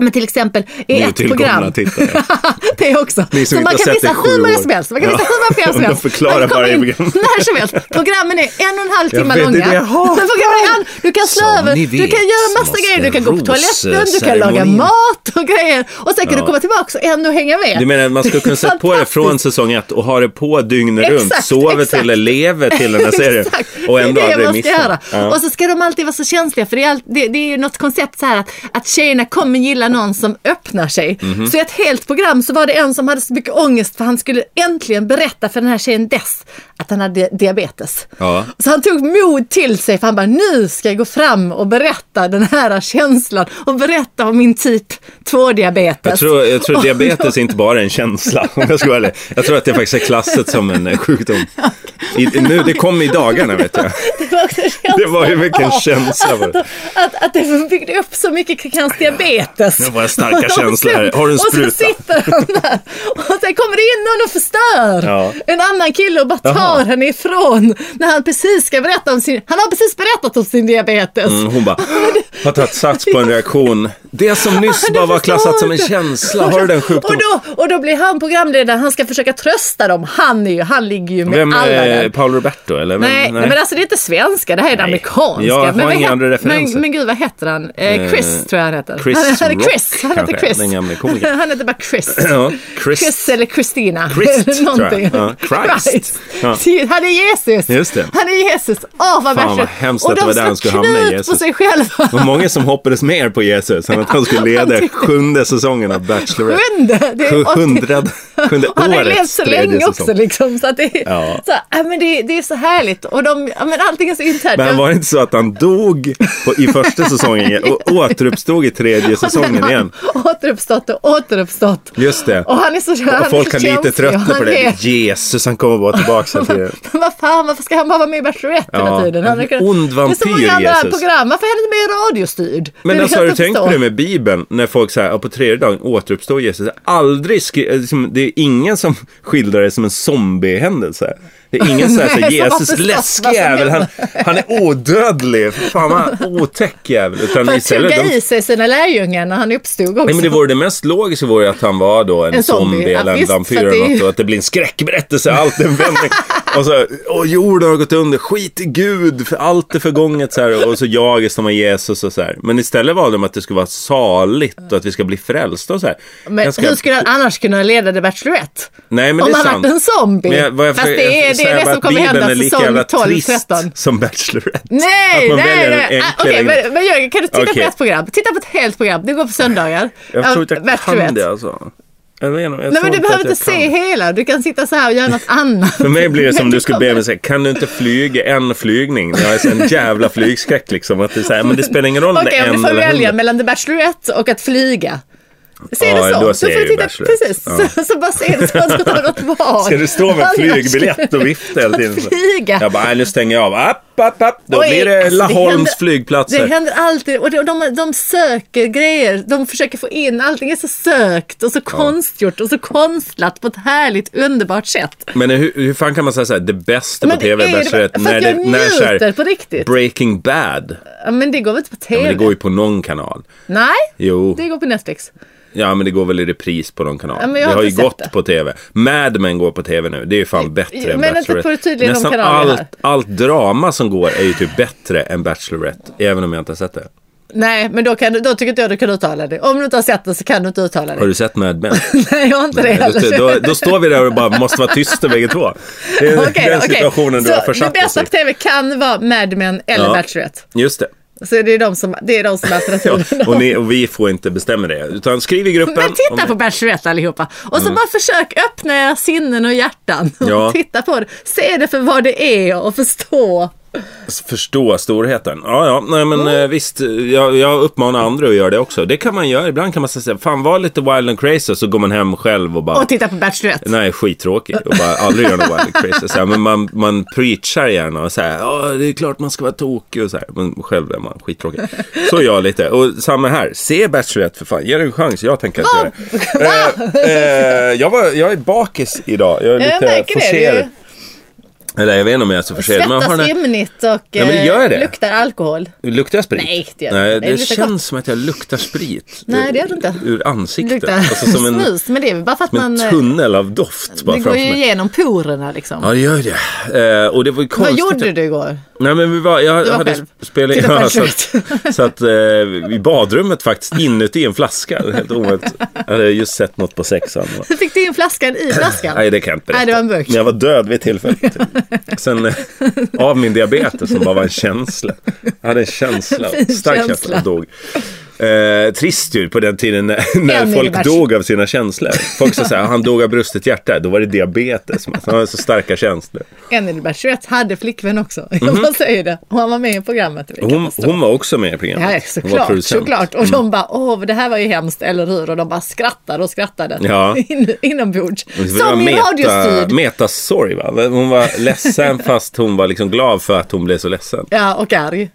Speaker 2: Men till exempel i ett
Speaker 3: Nytillkomna
Speaker 2: program.
Speaker 3: tittare.
Speaker 2: det också.
Speaker 3: Ni som
Speaker 2: Så man
Speaker 3: inte har
Speaker 2: kan
Speaker 3: sett
Speaker 2: visa
Speaker 3: det i sju
Speaker 2: hur många
Speaker 3: år.
Speaker 2: som helst. Man kan
Speaker 3: Ja.
Speaker 2: visa hur många program som
Speaker 3: De
Speaker 2: helst.
Speaker 3: förklarar
Speaker 2: Man kommer
Speaker 3: varje
Speaker 2: in
Speaker 3: program.
Speaker 2: När som helst. Programmen är en och en halv
Speaker 3: Jag
Speaker 2: timme
Speaker 3: vet
Speaker 2: långa.
Speaker 3: inte, jaha.
Speaker 2: Men programmen är all... Du kan slå
Speaker 1: Som
Speaker 2: över,
Speaker 1: ni
Speaker 2: du kan
Speaker 1: vet
Speaker 2: göra massa
Speaker 1: måste
Speaker 2: grejer. Du kan gå på toaletten, du kan laga
Speaker 1: rosceremonin-
Speaker 2: mat och grejer. Och sen kan du komma tillbaka och ändå hänga med.
Speaker 3: Du menar att man skulle kunna sätta på det från
Speaker 2: Fantastiskt.
Speaker 3: säsong ett och ha det på dygnet runt,
Speaker 2: Exakt,
Speaker 3: sover
Speaker 2: exakt.
Speaker 3: till eller lever till den här serien
Speaker 2: Exakt,
Speaker 3: och ändå
Speaker 2: det är det
Speaker 3: aldrig
Speaker 2: man ska
Speaker 3: missa.
Speaker 2: göra.
Speaker 3: Ja.
Speaker 2: Och så ska de alltid vara så känsliga för det är, all, det, det är ju något koncept så här att, att tjejerna kommer gilla någon som öppnar sig.
Speaker 3: Mhm.
Speaker 2: Så i ett helt program så var det en som hade så mycket ångest för han skulle äntligen berätta för den här tjejen dess att han hade diabetes.
Speaker 3: Ja.
Speaker 2: Så han tog mod till sig för han bara nu ska jag gå fram och berätta den här känslan och berätta om min typ 2-diabetes.
Speaker 3: Jag tror, jag tror diabetes är inte bara en känsla, om jag ska vara ärlig. Jag tror att det faktiskt är klassat som en eh, sjukdom. I, nu, det kom i dagarna, vet jag.
Speaker 2: Det var också känslan
Speaker 3: Det var ju vilken
Speaker 2: av-
Speaker 3: känsla var det.
Speaker 2: att, att det byggde upp så mycket kring hans diabetes.
Speaker 3: Nu var det starka
Speaker 2: Och de
Speaker 3: känslor här.
Speaker 2: sen-
Speaker 3: Har du en
Speaker 2: Och så
Speaker 3: spruta?
Speaker 2: sitter han där och sen kommer det in någon och förstör.
Speaker 3: Ja.
Speaker 2: En annan kille och bara tar
Speaker 3: Jaha.
Speaker 2: henne ifrån när han precis ska berätta om sin, han har precis berättat om sin diabetes.
Speaker 3: Mm, Hon bara, har tagit sats på en reaktion. Det som nyss
Speaker 2: Du
Speaker 3: bara var
Speaker 2: förstår
Speaker 3: klassat som en
Speaker 2: inte.
Speaker 3: känsla, har du den
Speaker 2: Och
Speaker 3: sjukdomen?
Speaker 2: då, och då blir han programledare, han ska försöka trösta dem. Han, är ju, han ligger ju med
Speaker 3: Vem
Speaker 2: alla
Speaker 3: är
Speaker 2: där.
Speaker 3: eh, Paolo Roberto eller? Vem,
Speaker 2: Nej, nej. men alltså det är inte svenska, det här är det
Speaker 3: Nej.
Speaker 2: amerikanska.
Speaker 3: Jag har
Speaker 2: men, vad
Speaker 3: inga
Speaker 2: het-
Speaker 3: andra referenser.
Speaker 2: Men, men gud, vad heter han? Eh, Chris
Speaker 3: Eh,
Speaker 2: tror jag han heter.
Speaker 3: Chris
Speaker 2: han, han, är
Speaker 3: Rock,
Speaker 2: Chris. han heter
Speaker 3: kanske,
Speaker 2: Chris.
Speaker 3: den gamle komikern.
Speaker 2: han heter bara Chris.
Speaker 3: Ja, Chris.
Speaker 2: alltså, Chris. eller Christina.
Speaker 3: Christ, tror jag.
Speaker 2: Någonting.
Speaker 3: Ja, Christ. Ja.
Speaker 2: Han är Jesus.
Speaker 3: Just det.
Speaker 2: Han är Jesus. Åh, vad
Speaker 3: Fan, vad
Speaker 2: värst.
Speaker 3: hemskt
Speaker 2: Och
Speaker 3: att det
Speaker 2: de
Speaker 3: var där han
Speaker 2: slår
Speaker 3: skulle hamna,
Speaker 2: knut på
Speaker 3: Jesus.
Speaker 2: sig själva.
Speaker 3: Det var många som hoppades mer på Jesus än att han skulle leda sjunde säsongen av Bachelorette.
Speaker 2: Sjunde! Det
Speaker 3: Sju-
Speaker 2: är
Speaker 3: Hundrade, sjunde
Speaker 2: Han har ju levt
Speaker 3: årets
Speaker 2: så
Speaker 3: tredje
Speaker 2: länge
Speaker 3: säsong.
Speaker 2: också liksom. Så att det, är,
Speaker 3: Ja.
Speaker 2: så, ja, men det, det är så härligt och de, ja, men allting är så internt.
Speaker 3: Men var det inte så att han dog på, i första säsongen och återuppstod i tredje säsongen
Speaker 2: har
Speaker 3: igen?
Speaker 2: Återuppstått och återuppstått.
Speaker 3: Just det.
Speaker 2: Och han är så han är
Speaker 3: Och
Speaker 2: så
Speaker 3: folk kan lite
Speaker 2: känslig
Speaker 3: tröttna
Speaker 2: och
Speaker 3: på
Speaker 2: han
Speaker 3: det.
Speaker 2: är-
Speaker 3: Jesus, han kommer vara tillbaka hela tiden.
Speaker 2: Men vad fan, varför ska han bara vara med i Bachelorette
Speaker 3: Ja,
Speaker 2: hela tiden? Han
Speaker 3: en
Speaker 2: hade kunnat-
Speaker 3: ond
Speaker 2: Det är så
Speaker 3: vampyr,
Speaker 2: många andra
Speaker 3: Jesus.
Speaker 2: program, varför är han inte med i Radiostyrd?
Speaker 3: Men
Speaker 2: Det är
Speaker 3: alltså har
Speaker 2: helt
Speaker 3: du tänkt på
Speaker 2: förstå.
Speaker 3: det med Bibeln? När folk säger på tredje dagen återuppstår Jesus. Aldrig skri- eh, liksom, det är ingen som skildrar det som en zombiehändelse. Det är ingen som säger så här,
Speaker 2: Nej, som har
Speaker 3: Jesus
Speaker 2: förstått vad
Speaker 3: läskig
Speaker 2: som
Speaker 3: jävel, han,
Speaker 2: händer."
Speaker 3: han är odödlig. Fan vad otäck jävel. Utan
Speaker 2: För att
Speaker 3: istället,
Speaker 2: suga
Speaker 3: de,
Speaker 2: i sig sina lärjungar när han uppstod också.
Speaker 3: nej men det vore det mest logiska vore ju att han var då en,
Speaker 2: En
Speaker 3: zombie,
Speaker 2: zombie,
Speaker 3: eller
Speaker 2: ja,
Speaker 3: en
Speaker 2: visst,
Speaker 3: vampyr
Speaker 2: för det är
Speaker 3: eller något
Speaker 2: ju-
Speaker 3: och att det blir en skräckberättelse, allt är en vändning. och så, och jorden har gått under, skit i Gud, för allt är förgånget så här, och så jagas de av Jesus och så här. Men istället valde de att det skulle vara saligt och att vi ska bli frälsta och så här.
Speaker 2: Men
Speaker 3: Ganska-
Speaker 2: hur skulle han annars kunna leda The Bachelorette?
Speaker 3: Nej men
Speaker 2: Om
Speaker 3: det är
Speaker 2: han
Speaker 3: sant.
Speaker 2: varit en zombie.
Speaker 3: Men jag- vad jag
Speaker 2: Fast
Speaker 3: försöker-
Speaker 2: det är-
Speaker 3: jag
Speaker 2: det är
Speaker 3: säger
Speaker 2: det
Speaker 3: bara
Speaker 2: som
Speaker 3: att
Speaker 2: kommer hända
Speaker 3: Bibeln är lika
Speaker 2: säsong
Speaker 3: jävla
Speaker 2: 12,
Speaker 3: trist
Speaker 2: 13.
Speaker 3: Som Bachelorette. Att
Speaker 2: Nej,
Speaker 3: man
Speaker 2: nej,
Speaker 3: väljer den
Speaker 2: nej. Ah,
Speaker 3: enkla
Speaker 2: Okej,
Speaker 3: vägen.
Speaker 2: men, men Jörgen, kan du titta
Speaker 3: Okej.
Speaker 2: på ett program? Titta på ett helt program. Det går på söndagar.
Speaker 3: Jag
Speaker 2: Ja,
Speaker 3: tror inte jag
Speaker 2: Bachelorette.
Speaker 3: kan det alltså. Jag menar, jag
Speaker 2: Nej, men
Speaker 3: tror
Speaker 2: du
Speaker 3: inte
Speaker 2: behöver
Speaker 3: att jag
Speaker 2: inte se
Speaker 3: kan.
Speaker 2: hela. Du kan sitta så här och göra något annat.
Speaker 3: För mig blir det som
Speaker 2: Men
Speaker 3: du skulle
Speaker 2: kommer-
Speaker 3: be mig säga, kan du inte flyga en flygning? Jag är så en jävla flygskräck liksom. Att det, är så här, men det spelar ingen roll om det
Speaker 2: Okej,
Speaker 3: är
Speaker 2: om du
Speaker 3: en
Speaker 2: får
Speaker 3: eller
Speaker 2: välja
Speaker 3: hundra.
Speaker 2: mellan The Bachelorette och att flyga. Ser
Speaker 3: Ja,
Speaker 2: det så?
Speaker 3: då
Speaker 2: Då
Speaker 3: ser
Speaker 2: får
Speaker 3: jag
Speaker 2: du
Speaker 3: ju
Speaker 2: titta,
Speaker 3: Bachelorette.
Speaker 2: precis, så, så bara ser det så att du tar något val.
Speaker 3: Ska du stå med en
Speaker 2: Annars-
Speaker 3: flygbiljett och vifta hela tiden? så?
Speaker 2: Flyga.
Speaker 3: Jag bara, nej, nu stänger jag av. App, app, app. Då
Speaker 2: Oj,
Speaker 3: blir det
Speaker 2: alltså, det
Speaker 3: Laholms
Speaker 2: händer- Det
Speaker 3: flygplatser.
Speaker 2: händer alltid och de, de, de söker grejer, de försöker få in, allting är så sökt och så konstgjort och så konstlat på ett härligt underbart sätt.
Speaker 3: Men hur, hur fan kan man säga så här, det bästa på
Speaker 2: Men det
Speaker 3: tv
Speaker 2: är det-
Speaker 3: Bachelorette,
Speaker 2: för att jag
Speaker 3: så här,
Speaker 2: njuter på riktigt.
Speaker 3: Breaking Bad.
Speaker 2: Ja, Men det går väl inte på
Speaker 3: Ja,
Speaker 2: TV?
Speaker 3: men det går ju på någon kanal.
Speaker 2: Nej,
Speaker 3: Jo,
Speaker 2: det går på Netflix.
Speaker 3: ja men det går väl i repris på någon kanal.
Speaker 2: Ja, men
Speaker 3: det
Speaker 2: jag har
Speaker 3: har ju
Speaker 2: inte sett
Speaker 3: gått
Speaker 2: det.
Speaker 3: på tv. Mad Men går på tv nu. Det är ju fan bättre än
Speaker 2: men inte
Speaker 3: Bachelorette.
Speaker 2: på tydligen någon
Speaker 3: Nästan
Speaker 2: kanal
Speaker 3: allt,
Speaker 2: här.
Speaker 3: allt drama som går är ju typ bättre än Bachelorette. Även om jag inte har sett det.
Speaker 2: Nej, men då, kan du, då tycker inte jag du kan uttala det. Om du inte har sett det så kan du inte uttala
Speaker 3: Har
Speaker 2: det.
Speaker 3: du sett Mad Men?
Speaker 2: Nej, jag har inte det
Speaker 3: då,
Speaker 2: heller.
Speaker 3: då, då står vi där och bara måste vara tysta bägge två. Det är
Speaker 2: Okej,
Speaker 3: den
Speaker 2: okej.
Speaker 3: situationen du
Speaker 2: Så
Speaker 3: har försatt
Speaker 2: Det
Speaker 3: oss
Speaker 2: bästa
Speaker 3: i.
Speaker 2: på TV kan vara Mad Men eller
Speaker 3: Ja.
Speaker 2: Bachelorette.
Speaker 3: Just det.
Speaker 2: Så det är de som, det är de som är alternativen.
Speaker 3: Och, ni, och vi får inte bestämma det. Utan skriv i gruppen.
Speaker 2: Men titta
Speaker 3: om ni-
Speaker 2: på Bachelorette allihopa. Och så bara försök öppna era sinnen och hjärtan.
Speaker 3: Mm. Ja.
Speaker 2: Och titta på det. Se det för vad det är och förstå.
Speaker 3: förstå storheten. Ja, ja, nej men
Speaker 2: Mm.
Speaker 3: eh, visst. Jag, jag uppmanar andra att göra det också. Det kan man göra. Ibland kan man säga, fan var lite wild and crazy och så går man hem själv och bara,
Speaker 2: Och titta på Bachelorette.
Speaker 3: nej skittråkig och bara aldrig gör något wild and crazy. Så här, men man, man preachar gärna och säger, ja det är klart man ska vara tokig och så här. Men själv är man skittråkig. Så gör jag lite. Och samma här, se Bachelorette för fan. Ge det en chans, jag tänker att göra det. Eh, eh, jag, var, jag är bakis idag, jag är
Speaker 2: Jag
Speaker 3: lite
Speaker 2: märker det, det är
Speaker 3: forcerad.
Speaker 2: ju-
Speaker 3: Eller jag vet inte om jag är så försenad. men jag har
Speaker 2: Svettas
Speaker 3: den här-
Speaker 2: ymnigt och
Speaker 3: Ja, men gör jag det?
Speaker 2: eh, luktar alkohol.
Speaker 3: Luktar jag sprit?
Speaker 2: Nej, det gör
Speaker 3: Nej,
Speaker 2: inte.
Speaker 3: det,
Speaker 2: Det luktar
Speaker 3: känns som att jag luktar sprit.
Speaker 2: Nej, det gör
Speaker 3: eh,
Speaker 2: du inte.
Speaker 3: Ur ansiktet.
Speaker 2: Luktar
Speaker 3: Alltså som en,
Speaker 2: snus. Men det är väl bara för att
Speaker 3: som en
Speaker 2: man... eh,
Speaker 3: tunnel av doft bara
Speaker 2: Det går
Speaker 3: framför
Speaker 2: ju
Speaker 3: mig.
Speaker 2: igenom porerna liksom.
Speaker 3: Ja, det gör det. Eh, och det var ju
Speaker 2: Vad
Speaker 3: konstigt.
Speaker 2: gjorde du igår?
Speaker 3: Nej, men vi var, jag
Speaker 2: var
Speaker 3: hade
Speaker 2: själv.
Speaker 3: spelat in
Speaker 2: Titta på
Speaker 3: ja, så att,
Speaker 2: Alfred.
Speaker 3: så att eh, i badrummet faktiskt, inuti en flaska. Det är Helt omöjligt. Jag hade just sett något på sexan.
Speaker 2: Du fick du in flaskan i flaskan?
Speaker 3: Nej, det kan jag inte berätta.
Speaker 2: Nej, det var en burk.
Speaker 3: Men jag var död vid tillfället. Sen eh, av min diabetes som bara var en känsla. Jag hade en känsla,
Speaker 2: Fin
Speaker 3: stark känsla,
Speaker 2: känsla.
Speaker 3: och dog. Eh, trist ju på den tiden när,
Speaker 2: Än
Speaker 3: när
Speaker 2: är det
Speaker 3: folk
Speaker 2: värst.
Speaker 3: dog av sina känslor. Folk sa så här, han dog av brustet hjärta, då var det diabetes. Man har så starka känslor.
Speaker 2: Engelbert 21 hade flickvän också. Jag bara säger det. Och han var med i programmet. Vi kan
Speaker 3: Mhm. Hon,
Speaker 2: förstå.
Speaker 3: hon var också med i programmet.
Speaker 2: Alltså. Ja,
Speaker 3: Hon var
Speaker 2: såklart,
Speaker 3: producent. Mm.
Speaker 2: såklart. Och de bara, åh, det här var ju hemskt, eller hur? Och de bara skrattade och skrattade
Speaker 3: Ja.
Speaker 2: In, inombords.
Speaker 3: Det var
Speaker 2: Som i
Speaker 3: meta- Mm,
Speaker 2: radiostyrd.
Speaker 3: Metasorg va? Hon var ledsen fast hon var liksom glad för att hon blev så ledsen.
Speaker 2: Ja, och arg.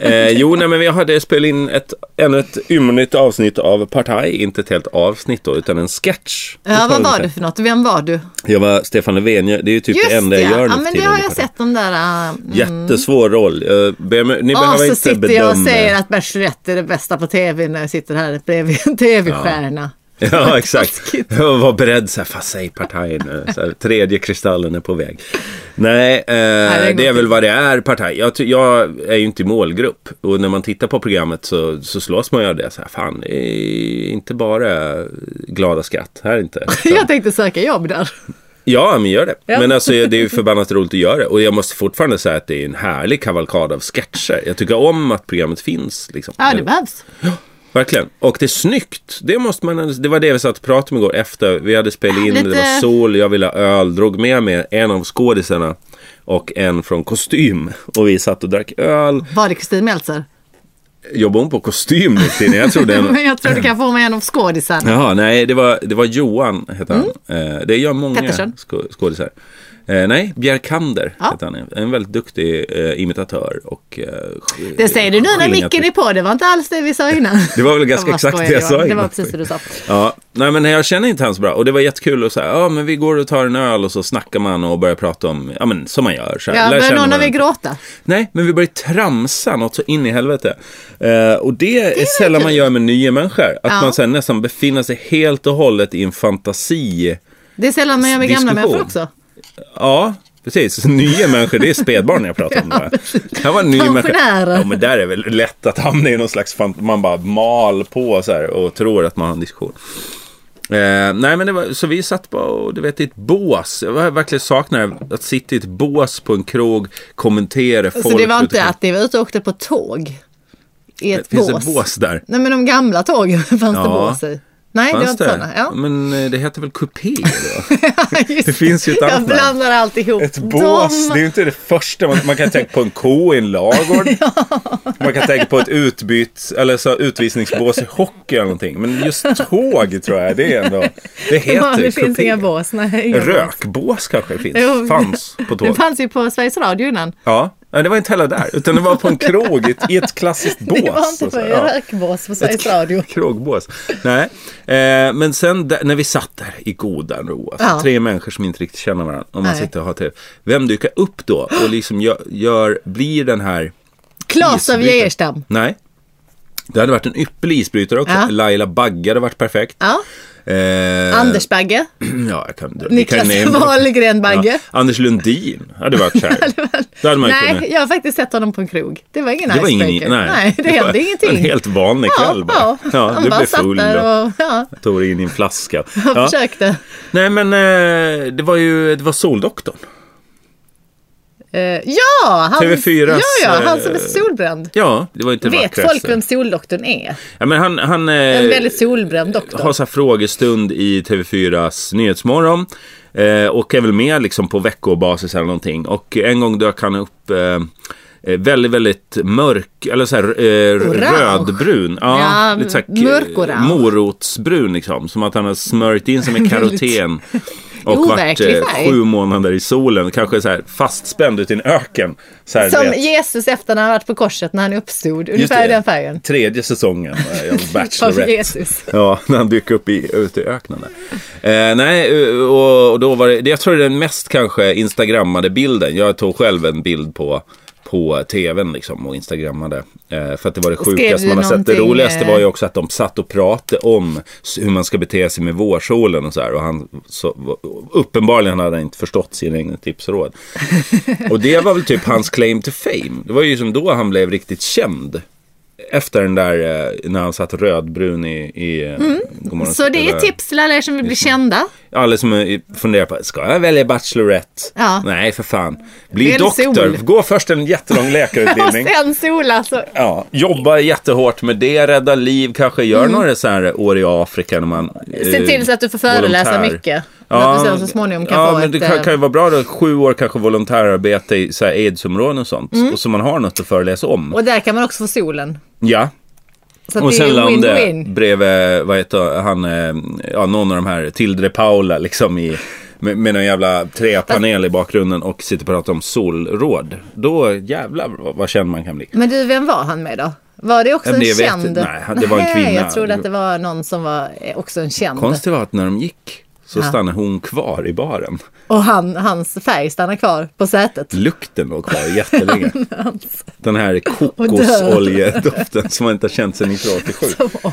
Speaker 3: Eh, jo, nej, men vi hade spelat in ett, ännu ett ymnigt avsnitt av Partaj. Inte ett helt avsnitt då, utan en sketch.
Speaker 2: Ja, vad var du för något? Vem var du?
Speaker 3: Jag var Stefan Löfven. Jag- Det är ju typ
Speaker 2: Just
Speaker 3: det enda
Speaker 2: det,
Speaker 3: jag gör
Speaker 2: ja.
Speaker 3: nu
Speaker 2: ja
Speaker 3: för
Speaker 2: men det
Speaker 3: tiden
Speaker 2: har
Speaker 3: i
Speaker 2: jag
Speaker 3: Partaj.
Speaker 2: sett de där... äh,
Speaker 3: Jättesvår roll. Jag ber, om- ni
Speaker 2: Ja,
Speaker 3: behöver
Speaker 2: så
Speaker 3: inte
Speaker 2: sitter
Speaker 3: bedöma.
Speaker 2: jag och säger att Bachelorette är det bästa på tv när jag sitter här bredvid en tv-stjärna.
Speaker 3: Ja, exakt.
Speaker 2: Taskigt.
Speaker 3: Jag var beredd så här, fast säg Partaj nu. Så här, tredje kristallen är på väg. Nej, eh,
Speaker 2: det går
Speaker 3: det är väl
Speaker 2: inte.
Speaker 3: vad det är Partaj. Jag, ty- jag är ju inte i målgrupp. Och när man tittar på programmet så, så slås man ju av det. Så här, fan, det är inte bara glada skratt här inte. Så-
Speaker 2: Jag tänkte söka jobb där.
Speaker 3: Ja, men gör det.
Speaker 2: Ja.
Speaker 3: Men alltså, det är ju förbannat roligt att göra det. Och jag måste fortfarande säga att det är en härlig kavalkad av sketcher. Jag tycker om att programmet finns. Liksom.
Speaker 2: Ja, det behövs.
Speaker 3: Verkligen. Och det är snyggt. Det, måste man, det var det vi satt och pratade om igår efter. Vi hade spelat in, det
Speaker 2: Lite-
Speaker 3: var sol, jag ville ha öl. Drog med mig en av skådisarna och en från kostym. Och vi satt och drack öl.
Speaker 2: Var det Kristin Meltzer?
Speaker 3: Jobbar hon på kostym nu för tiden? Jag trodde... en-
Speaker 2: Men jag tror du kan få med en av skådisarna.
Speaker 3: Jaha, nej, det var, det var Johan, hette han. Eh, det gör många
Speaker 2: Mm. Pettersson.
Speaker 3: sko- skådisar. Eh, nej, Bjerkander
Speaker 2: Ja.
Speaker 3: hette han. En väldigt duktig eh, imitatör och... Eh, sk-
Speaker 2: Det säger du nu när
Speaker 3: skillingat-
Speaker 2: micken är på. Det var inte alls det vi sa innan.
Speaker 3: Det var väl ganska
Speaker 2: Jag bara
Speaker 3: exakt det
Speaker 2: skojar,
Speaker 3: jag sa
Speaker 2: Johan. Det
Speaker 3: innan.
Speaker 2: var precis det du sa.
Speaker 3: Ja, nej men jag känner inte han så bra. Och det var jättekul att säga, ja men vi går och tar en öl och så snackar man och börjar prata om, ja men som man gör. Så här,
Speaker 2: Ja,
Speaker 3: lär
Speaker 2: börjar
Speaker 3: känna
Speaker 2: någon av er
Speaker 3: varandra.
Speaker 2: gråta?
Speaker 3: Nej, men vi började tramsa något så in i helvete. Eh, och det, är sällan man gör med nya människor. Att
Speaker 2: Ja.
Speaker 3: man så här, nästan befinner sig helt och hållet i en fantasi.
Speaker 2: Det är sällan man gör med gamla
Speaker 3: Diskussion.
Speaker 2: människor också.
Speaker 3: Ja, precis. Nya människor, det är spädbarn jag pratar om. bara. Här var en ny människa.
Speaker 2: Pensionärer.
Speaker 3: Ja, men där är väl lätt att hamna i någon slags fan... Man bara mal på så här och tror att man har en diskussion. Eh, nej, men det var, så vi satt bara och, du vet, i ett bås. Jag var- verkligen saknar att sitta i ett bås på en krog, kommentera folk.
Speaker 2: Så det var inte
Speaker 3: utifrån-
Speaker 2: att ni var ute och åkte på tåg? I ett
Speaker 3: Finns
Speaker 2: bås?
Speaker 3: det bås där?
Speaker 2: Nej, men de gamla tågen fanns
Speaker 3: Ja.
Speaker 2: det bås i. Nej, det var
Speaker 3: Fanns
Speaker 2: inte sådana. Ja.
Speaker 3: Men eh, det heter väl kupé? då?
Speaker 2: Just
Speaker 3: Det finns ju ett
Speaker 2: Jag
Speaker 3: annat namn.
Speaker 2: blandar alltihop.
Speaker 3: Ett bås,
Speaker 2: De-
Speaker 3: det är ju inte det första. Man, man kan tänka på en ko i en lagård. Man kan tänka på ett utbyt, eller så utvisningsbås i hockey eller någonting. Men just tåg tror jag, det är ändå... Det
Speaker 2: Ja,
Speaker 3: heter
Speaker 2: det
Speaker 3: ju
Speaker 2: finns
Speaker 3: kupé.
Speaker 2: inga bås. Nej, inga bås.
Speaker 3: Rökbås kanske finns.
Speaker 2: Jo.
Speaker 3: Fanns på
Speaker 2: Det
Speaker 3: tåg.
Speaker 2: fanns ju på Sveriges Radio innan.
Speaker 3: Ja, Nej, det var inte heller där. Utan det var på en krog i ett, i ett klassiskt bås. alltså.
Speaker 2: Det var inte
Speaker 3: Och
Speaker 2: på
Speaker 3: så, ja.
Speaker 2: rökbås på Sveriges Radio.
Speaker 3: Krogbås. Nej, eh, men sen där, när vi satt där i godan ro, alltså,
Speaker 2: Ja.
Speaker 3: tre människor som inte riktigt känner varandra, om man
Speaker 2: Nej.
Speaker 3: sitter och har trevligt. Vem dyker upp då och liksom gör, gör blir den här
Speaker 2: Klas av
Speaker 3: isbrytaren?
Speaker 2: Geijerstam.
Speaker 3: Nej. Det hade varit en ypperlig isbrytare också.
Speaker 2: Ja.
Speaker 3: Laila Bagge hade varit perfekt.
Speaker 2: Ja.
Speaker 3: Eh,
Speaker 2: Anders Bagge.
Speaker 3: Ja, jag kan, vi kan
Speaker 2: Niklas
Speaker 3: nämna-
Speaker 2: Wahlgren Bagge.
Speaker 3: Ja, Anders Lundin hade varit kär. det hade man ju kunnat.
Speaker 2: Nej, jag har faktiskt sett honom på en krog. Det var ingen
Speaker 3: Det var ingen, nej.
Speaker 2: icebreaker. nej, det hände
Speaker 3: var
Speaker 2: ingenting.
Speaker 3: En helt vanlig
Speaker 2: ja,
Speaker 3: kväll bara.
Speaker 2: Ja,
Speaker 3: Ja,
Speaker 2: han
Speaker 3: du
Speaker 2: bara
Speaker 3: blev
Speaker 2: satt
Speaker 3: full
Speaker 2: där
Speaker 3: och
Speaker 2: och ja,
Speaker 3: tog dig in i en flaska.
Speaker 2: han
Speaker 3: Ja.
Speaker 2: försökte.
Speaker 3: Nej men eh, det var ju det var Soldoktorn.
Speaker 2: Eh, ja, han,
Speaker 3: TV4s,
Speaker 2: ja, ja, han som är
Speaker 3: eh,
Speaker 2: solbränd.
Speaker 3: Ja, det var inte det
Speaker 2: Vet
Speaker 3: vackraste.
Speaker 2: folk vem Soldoktorn är?
Speaker 3: Ja, men han han eh,
Speaker 2: En väldigt solbränd doktor.
Speaker 3: har så här frågestund i TV4s Nyhetsmorgon. Eh, och är väl med liksom på veckobasis eller någonting. Och en gång dök han upp eh, eh, väldigt, väldigt mörk, eller så här eh,
Speaker 2: Orange.
Speaker 3: rödbrun. Ja,
Speaker 2: Ja,
Speaker 3: lite så här, eh,
Speaker 2: mörkorange.
Speaker 3: morotsbrun liksom. Som att han har smörjt in sig med
Speaker 2: Väldigt-
Speaker 3: karoten. Och varit
Speaker 2: Overklig
Speaker 3: eh,
Speaker 2: färg.
Speaker 3: sju månader i solen, kanske så här fastspänd ute i en öken. Så här,
Speaker 2: Som
Speaker 3: du vet,
Speaker 2: Jesus efter när han varit på korset när han uppstod.
Speaker 3: Just
Speaker 2: Ungefär
Speaker 3: det.
Speaker 2: den färgen.
Speaker 3: Tredje säsongen eh, av
Speaker 2: Av
Speaker 3: Bachelorette.
Speaker 2: Jesus.
Speaker 3: Ja, när han dyker upp i, ute i öknen. där. Eh, nej, eh, och, och då var det, det- jag tror det är den mest kanske instagrammade bilden. Jag tog själv en bild på på tvn liksom och instagrammade. Eh, för att det var det sjukaste
Speaker 2: du
Speaker 3: man har sett. Det
Speaker 2: någonting,
Speaker 3: roligaste
Speaker 2: eh,
Speaker 3: var ju också att de satt och pratade om s- hur man ska bete sig med vårsolen och så här. Och han, så, uppenbarligen hade han inte förstått sina egna tips och råd. Och det var väl typ hans claim to fame. Det var ju som då han blev riktigt känd. Efter den där eh, när han satt rödbrun i, i eh, Godmorgon
Speaker 2: Mm. Så det är typ-
Speaker 3: Eller-
Speaker 2: tips till alla er som vill bli kända.
Speaker 3: Alla som eh, funderar på, ska jag välja Bachelorette?
Speaker 2: Ja.
Speaker 3: Nej, för fan. Bli
Speaker 2: Välj
Speaker 3: doktor.
Speaker 2: sol.
Speaker 3: Gå först en jättelång
Speaker 2: Och
Speaker 3: läkarutbildning.
Speaker 2: sen sola så.
Speaker 3: Ja, jobba jättehårt med det, rädda liv, kanske gör några så här år i Afrika när man...
Speaker 2: Mm. Se till så att du får föreläsa
Speaker 3: Eh, volontär.
Speaker 2: mycket. Så att du sen så småningom kan
Speaker 3: ja,
Speaker 2: få
Speaker 3: men
Speaker 2: ett...
Speaker 3: det kan,
Speaker 2: eh,
Speaker 3: kan ju vara bra då, sju år kanske volontärarbete i så här aidsområden och sånt. Och så man har något att föreläsa om.
Speaker 2: Mm. Och där kan man också få solen.
Speaker 3: Ja,
Speaker 2: Så att
Speaker 3: och
Speaker 2: det
Speaker 3: sen la
Speaker 2: är
Speaker 3: hon det
Speaker 2: win-win.
Speaker 3: bredvid, vad heter han, eh, ja någon av de här, Tildre Paula liksom i, med, med någon jävla träpanel i bakgrunden och sitter och pratar om solråd. Då jävlar vad, vad känd man kan bli.
Speaker 2: Men du, vem var han med då? Var det också
Speaker 3: Men
Speaker 2: en
Speaker 3: det vet-
Speaker 2: känd?
Speaker 3: nej, han- det var en
Speaker 2: Nej,
Speaker 3: kvinna.
Speaker 2: Jag trodde att det var någon som var eh, också en känd.
Speaker 3: Konstigt var att när de gick så
Speaker 2: Ja.
Speaker 3: stannade hon kvar i baren.
Speaker 2: Och han, hans färg stannar kvar på sätet.
Speaker 3: Lukten låg kvar jättelänge.
Speaker 2: alltså.
Speaker 3: Den här kokosoljedoften som man inte har känt sedan 1987.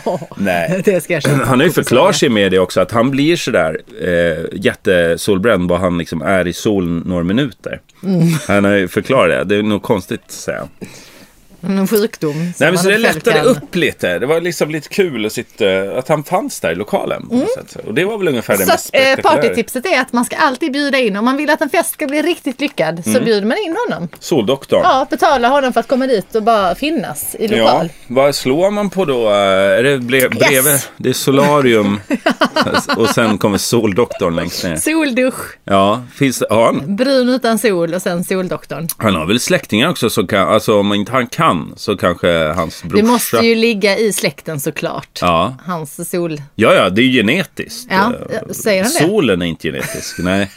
Speaker 2: Åh,
Speaker 3: Nej.
Speaker 2: det ska jag känna.
Speaker 3: Han har ju förklarat sig med det också att han blir sådär eh, jättesolbränd vad han liksom är i solen några minuter.
Speaker 2: Mm.
Speaker 3: Han har ju förklarat det. Det är nog konstigt säger han.
Speaker 2: En sjukdom. som
Speaker 3: Nej men
Speaker 2: han
Speaker 3: så det
Speaker 2: själv
Speaker 3: lättade
Speaker 2: kan-
Speaker 3: upp lite. Det var liksom lite kul att, sitta, att han fanns där i lokalen. På något sätt. Och det var väl ungefär det
Speaker 2: Mm. Så
Speaker 3: mest
Speaker 2: att, eh,
Speaker 3: spektakulära.
Speaker 2: partytipset är att man ska alltid bjuda in. Om man vill att en fest ska bli riktigt lyckad
Speaker 3: Mm.
Speaker 2: så bjuder man in honom.
Speaker 3: Soldoktorn.
Speaker 2: Ja, betala honom för att komma dit och bara finnas i lokal.
Speaker 3: vad slår man på då? Är det bre- bredvid? Det är solarium och sen kommer soldoktorn längst ner.
Speaker 2: Soldusch,
Speaker 3: Ja, finns det, har han?
Speaker 2: brun utan sol och sen soldoktorn.
Speaker 3: Han har väl släktingar också som kan, alltså om inte han kan så kanske hans brorsa.
Speaker 2: Det måste ju ligga i släkten såklart.
Speaker 3: Ja.
Speaker 2: Hans sol.
Speaker 3: Ja, ja, det är ju genetiskt.
Speaker 2: Ja,
Speaker 3: Eh,
Speaker 2: säger han det?
Speaker 3: Solen är inte genetisk, nej.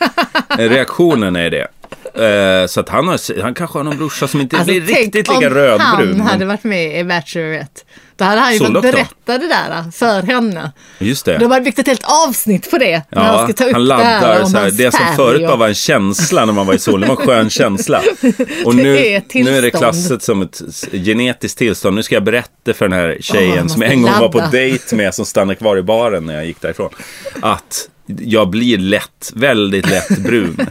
Speaker 3: Reaktionen är det. Eh, Så att han, har, han kanske har någon brorsa som inte
Speaker 2: Alltså,
Speaker 3: blir
Speaker 2: tänk
Speaker 3: riktigt
Speaker 2: om
Speaker 3: lika rödbrun.
Speaker 2: han
Speaker 3: men-
Speaker 2: hade varit med i Bachelorette. Då hade han ju fått
Speaker 3: Soldoktorn.
Speaker 2: berätta det där eh, för henne.
Speaker 3: Just
Speaker 2: De
Speaker 3: det.
Speaker 2: hade byggt ett helt avsnitt på det. när han ska ta upp
Speaker 3: han
Speaker 2: det här
Speaker 3: laddar
Speaker 2: om
Speaker 3: så här,
Speaker 2: hans
Speaker 3: det som
Speaker 2: färg
Speaker 3: förut
Speaker 2: och-
Speaker 3: bara var en känsla när man var i solen, det var en skön känsla. Och nu,
Speaker 2: Det är ett
Speaker 3: nu är det
Speaker 2: tillstånd.
Speaker 3: klassat som ett s- genetiskt tillstånd. Nu ska jag berätta för den här
Speaker 2: Åh,
Speaker 3: tjejen
Speaker 2: man
Speaker 3: som
Speaker 2: måste
Speaker 3: jag en gång var på
Speaker 2: ladda.
Speaker 3: dejt med, som stannade kvar i baren när jag gick därifrån, att jag blir lätt, väldigt lätt brun.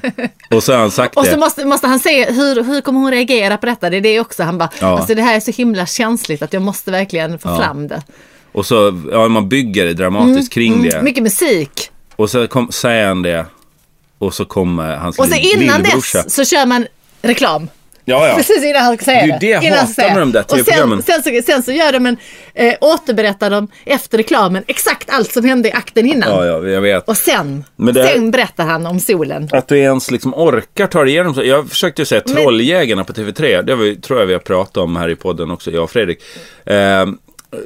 Speaker 3: Och så har han sagt
Speaker 2: Och så
Speaker 3: det.
Speaker 2: måste, måste han se hur, hur kommer hon reagera på detta. Det är det också. Han bara,
Speaker 3: Ja.
Speaker 2: alltså det här är så himla känsligt att jag måste verkligen få fram det.
Speaker 3: Och så, ja, man bygger det dramatiskt kring det.
Speaker 2: Mm, Mycket musik.
Speaker 3: Och så kom, säger han det. Och så kommer hans
Speaker 2: Och så
Speaker 3: lill-
Speaker 2: innan
Speaker 3: lillbrorsa.
Speaker 2: dess så kör man reklam.
Speaker 3: Ja, ja.
Speaker 2: Precis innan han säger
Speaker 3: Det är ju det jag
Speaker 2: Innan han
Speaker 3: hatar
Speaker 2: säger
Speaker 3: med de där
Speaker 2: Och sen,
Speaker 3: TV-programmen.
Speaker 2: sen, så, sen så gör de en, eh, återberättar de efter reklamen exakt allt som hände i akten innan.
Speaker 3: Ja, ja, jag vet.
Speaker 2: Och sen,
Speaker 3: Men det här-
Speaker 2: sen berättar han om solen.
Speaker 3: Att du ens liksom orkar ta dig igenom så. Jag försökte ju säga Trolljägarna på TV3. Det har vi, tror jag vi har pratat om här i podden också, jag och Fredrik. Eh,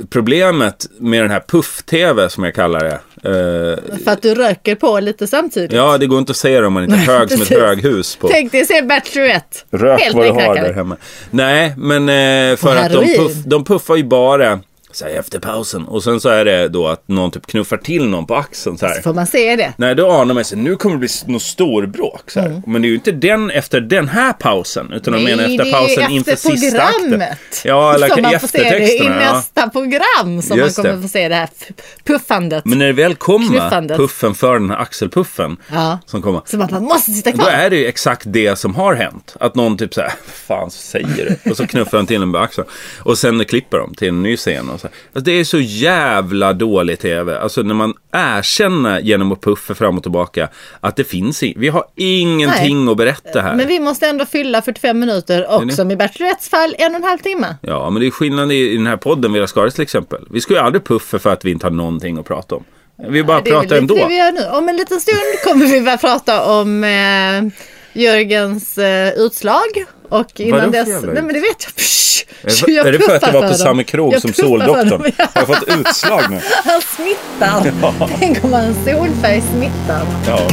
Speaker 3: problemet med den här puff-TV som jag kallar det. Eh,
Speaker 2: För att du röker på lite samtidigt.
Speaker 3: ja, det går inte att se det om man inte är hög som ett
Speaker 2: precis.
Speaker 3: höghus. På.
Speaker 2: Tänk dig se Bachelorette.
Speaker 3: Rök
Speaker 2: Helt
Speaker 3: vad du har
Speaker 2: knäknackad.
Speaker 3: där hemma. Nej, men eh, för
Speaker 2: Och
Speaker 3: att de,
Speaker 2: heroin.
Speaker 3: puff, de puffar ju bara så här, efter pausen. Och sen så är det då att någon typ knuffar till någon på axeln så här.
Speaker 2: Så får man se det.
Speaker 3: Nej, då anar man sig nu kommer det bli något storbråk. Så här. Men det är ju inte den efter den här pausen, utan de
Speaker 2: Mm. Nej,
Speaker 3: menar
Speaker 2: det
Speaker 3: efter
Speaker 2: är ju
Speaker 3: pausen inför
Speaker 2: efter
Speaker 3: sista akten.
Speaker 2: programmet.
Speaker 3: Ja, eller
Speaker 2: som man får se det i
Speaker 3: eftertexterna. Ja.
Speaker 2: nästa program som
Speaker 3: Just
Speaker 2: man kommer
Speaker 3: det.
Speaker 2: få se det här f- puffandet.
Speaker 3: Men när det väl kommer,
Speaker 2: Knuffandet.
Speaker 3: puffen för den här axelpuffen
Speaker 2: Ja.
Speaker 3: som kommer.
Speaker 2: Så man, man måste sitta
Speaker 3: Då
Speaker 2: kvar.
Speaker 3: är det ju exakt det som har hänt. Att någon typ såhär, fan säger du? Och så knuffar han till en på axeln. Och sen klipper de till en ny scen. Och så här. alltså, det är så jävla dålig tv. Alltså när man erkänner genom att puffa fram och tillbaka att det finns i, vi har ingenting att berätta här.
Speaker 2: Men vi måste ändå fylla 45 minuter och
Speaker 3: det?
Speaker 2: som i Bertrettes fall en och en halv timme.
Speaker 3: Ja, men det är skillnad i, i den här podden, Vera Skaris till exempel. Vi skulle ju aldrig puffa för att vi inte har någonting att prata om. Vi
Speaker 2: Det
Speaker 3: bara
Speaker 2: är väl
Speaker 3: pratar
Speaker 2: lite
Speaker 3: ändå.
Speaker 2: det vi gör nu. Om en liten stund kommer vi börja prata om eh, Jörgens eh, utslag. Och innan
Speaker 3: för
Speaker 2: dess...
Speaker 3: jävla
Speaker 2: Nej men det vet jag. Psh,
Speaker 3: Är det- är det för att
Speaker 2: puffar
Speaker 3: du var
Speaker 2: för
Speaker 3: på
Speaker 2: dem.
Speaker 3: samma krog
Speaker 2: Jag
Speaker 3: som
Speaker 2: puffar för dem.
Speaker 3: Soldoktorn? Jag har fått utslag nu.
Speaker 2: Han smittar. Tänk om han solfärg smittar.
Speaker 3: Ja.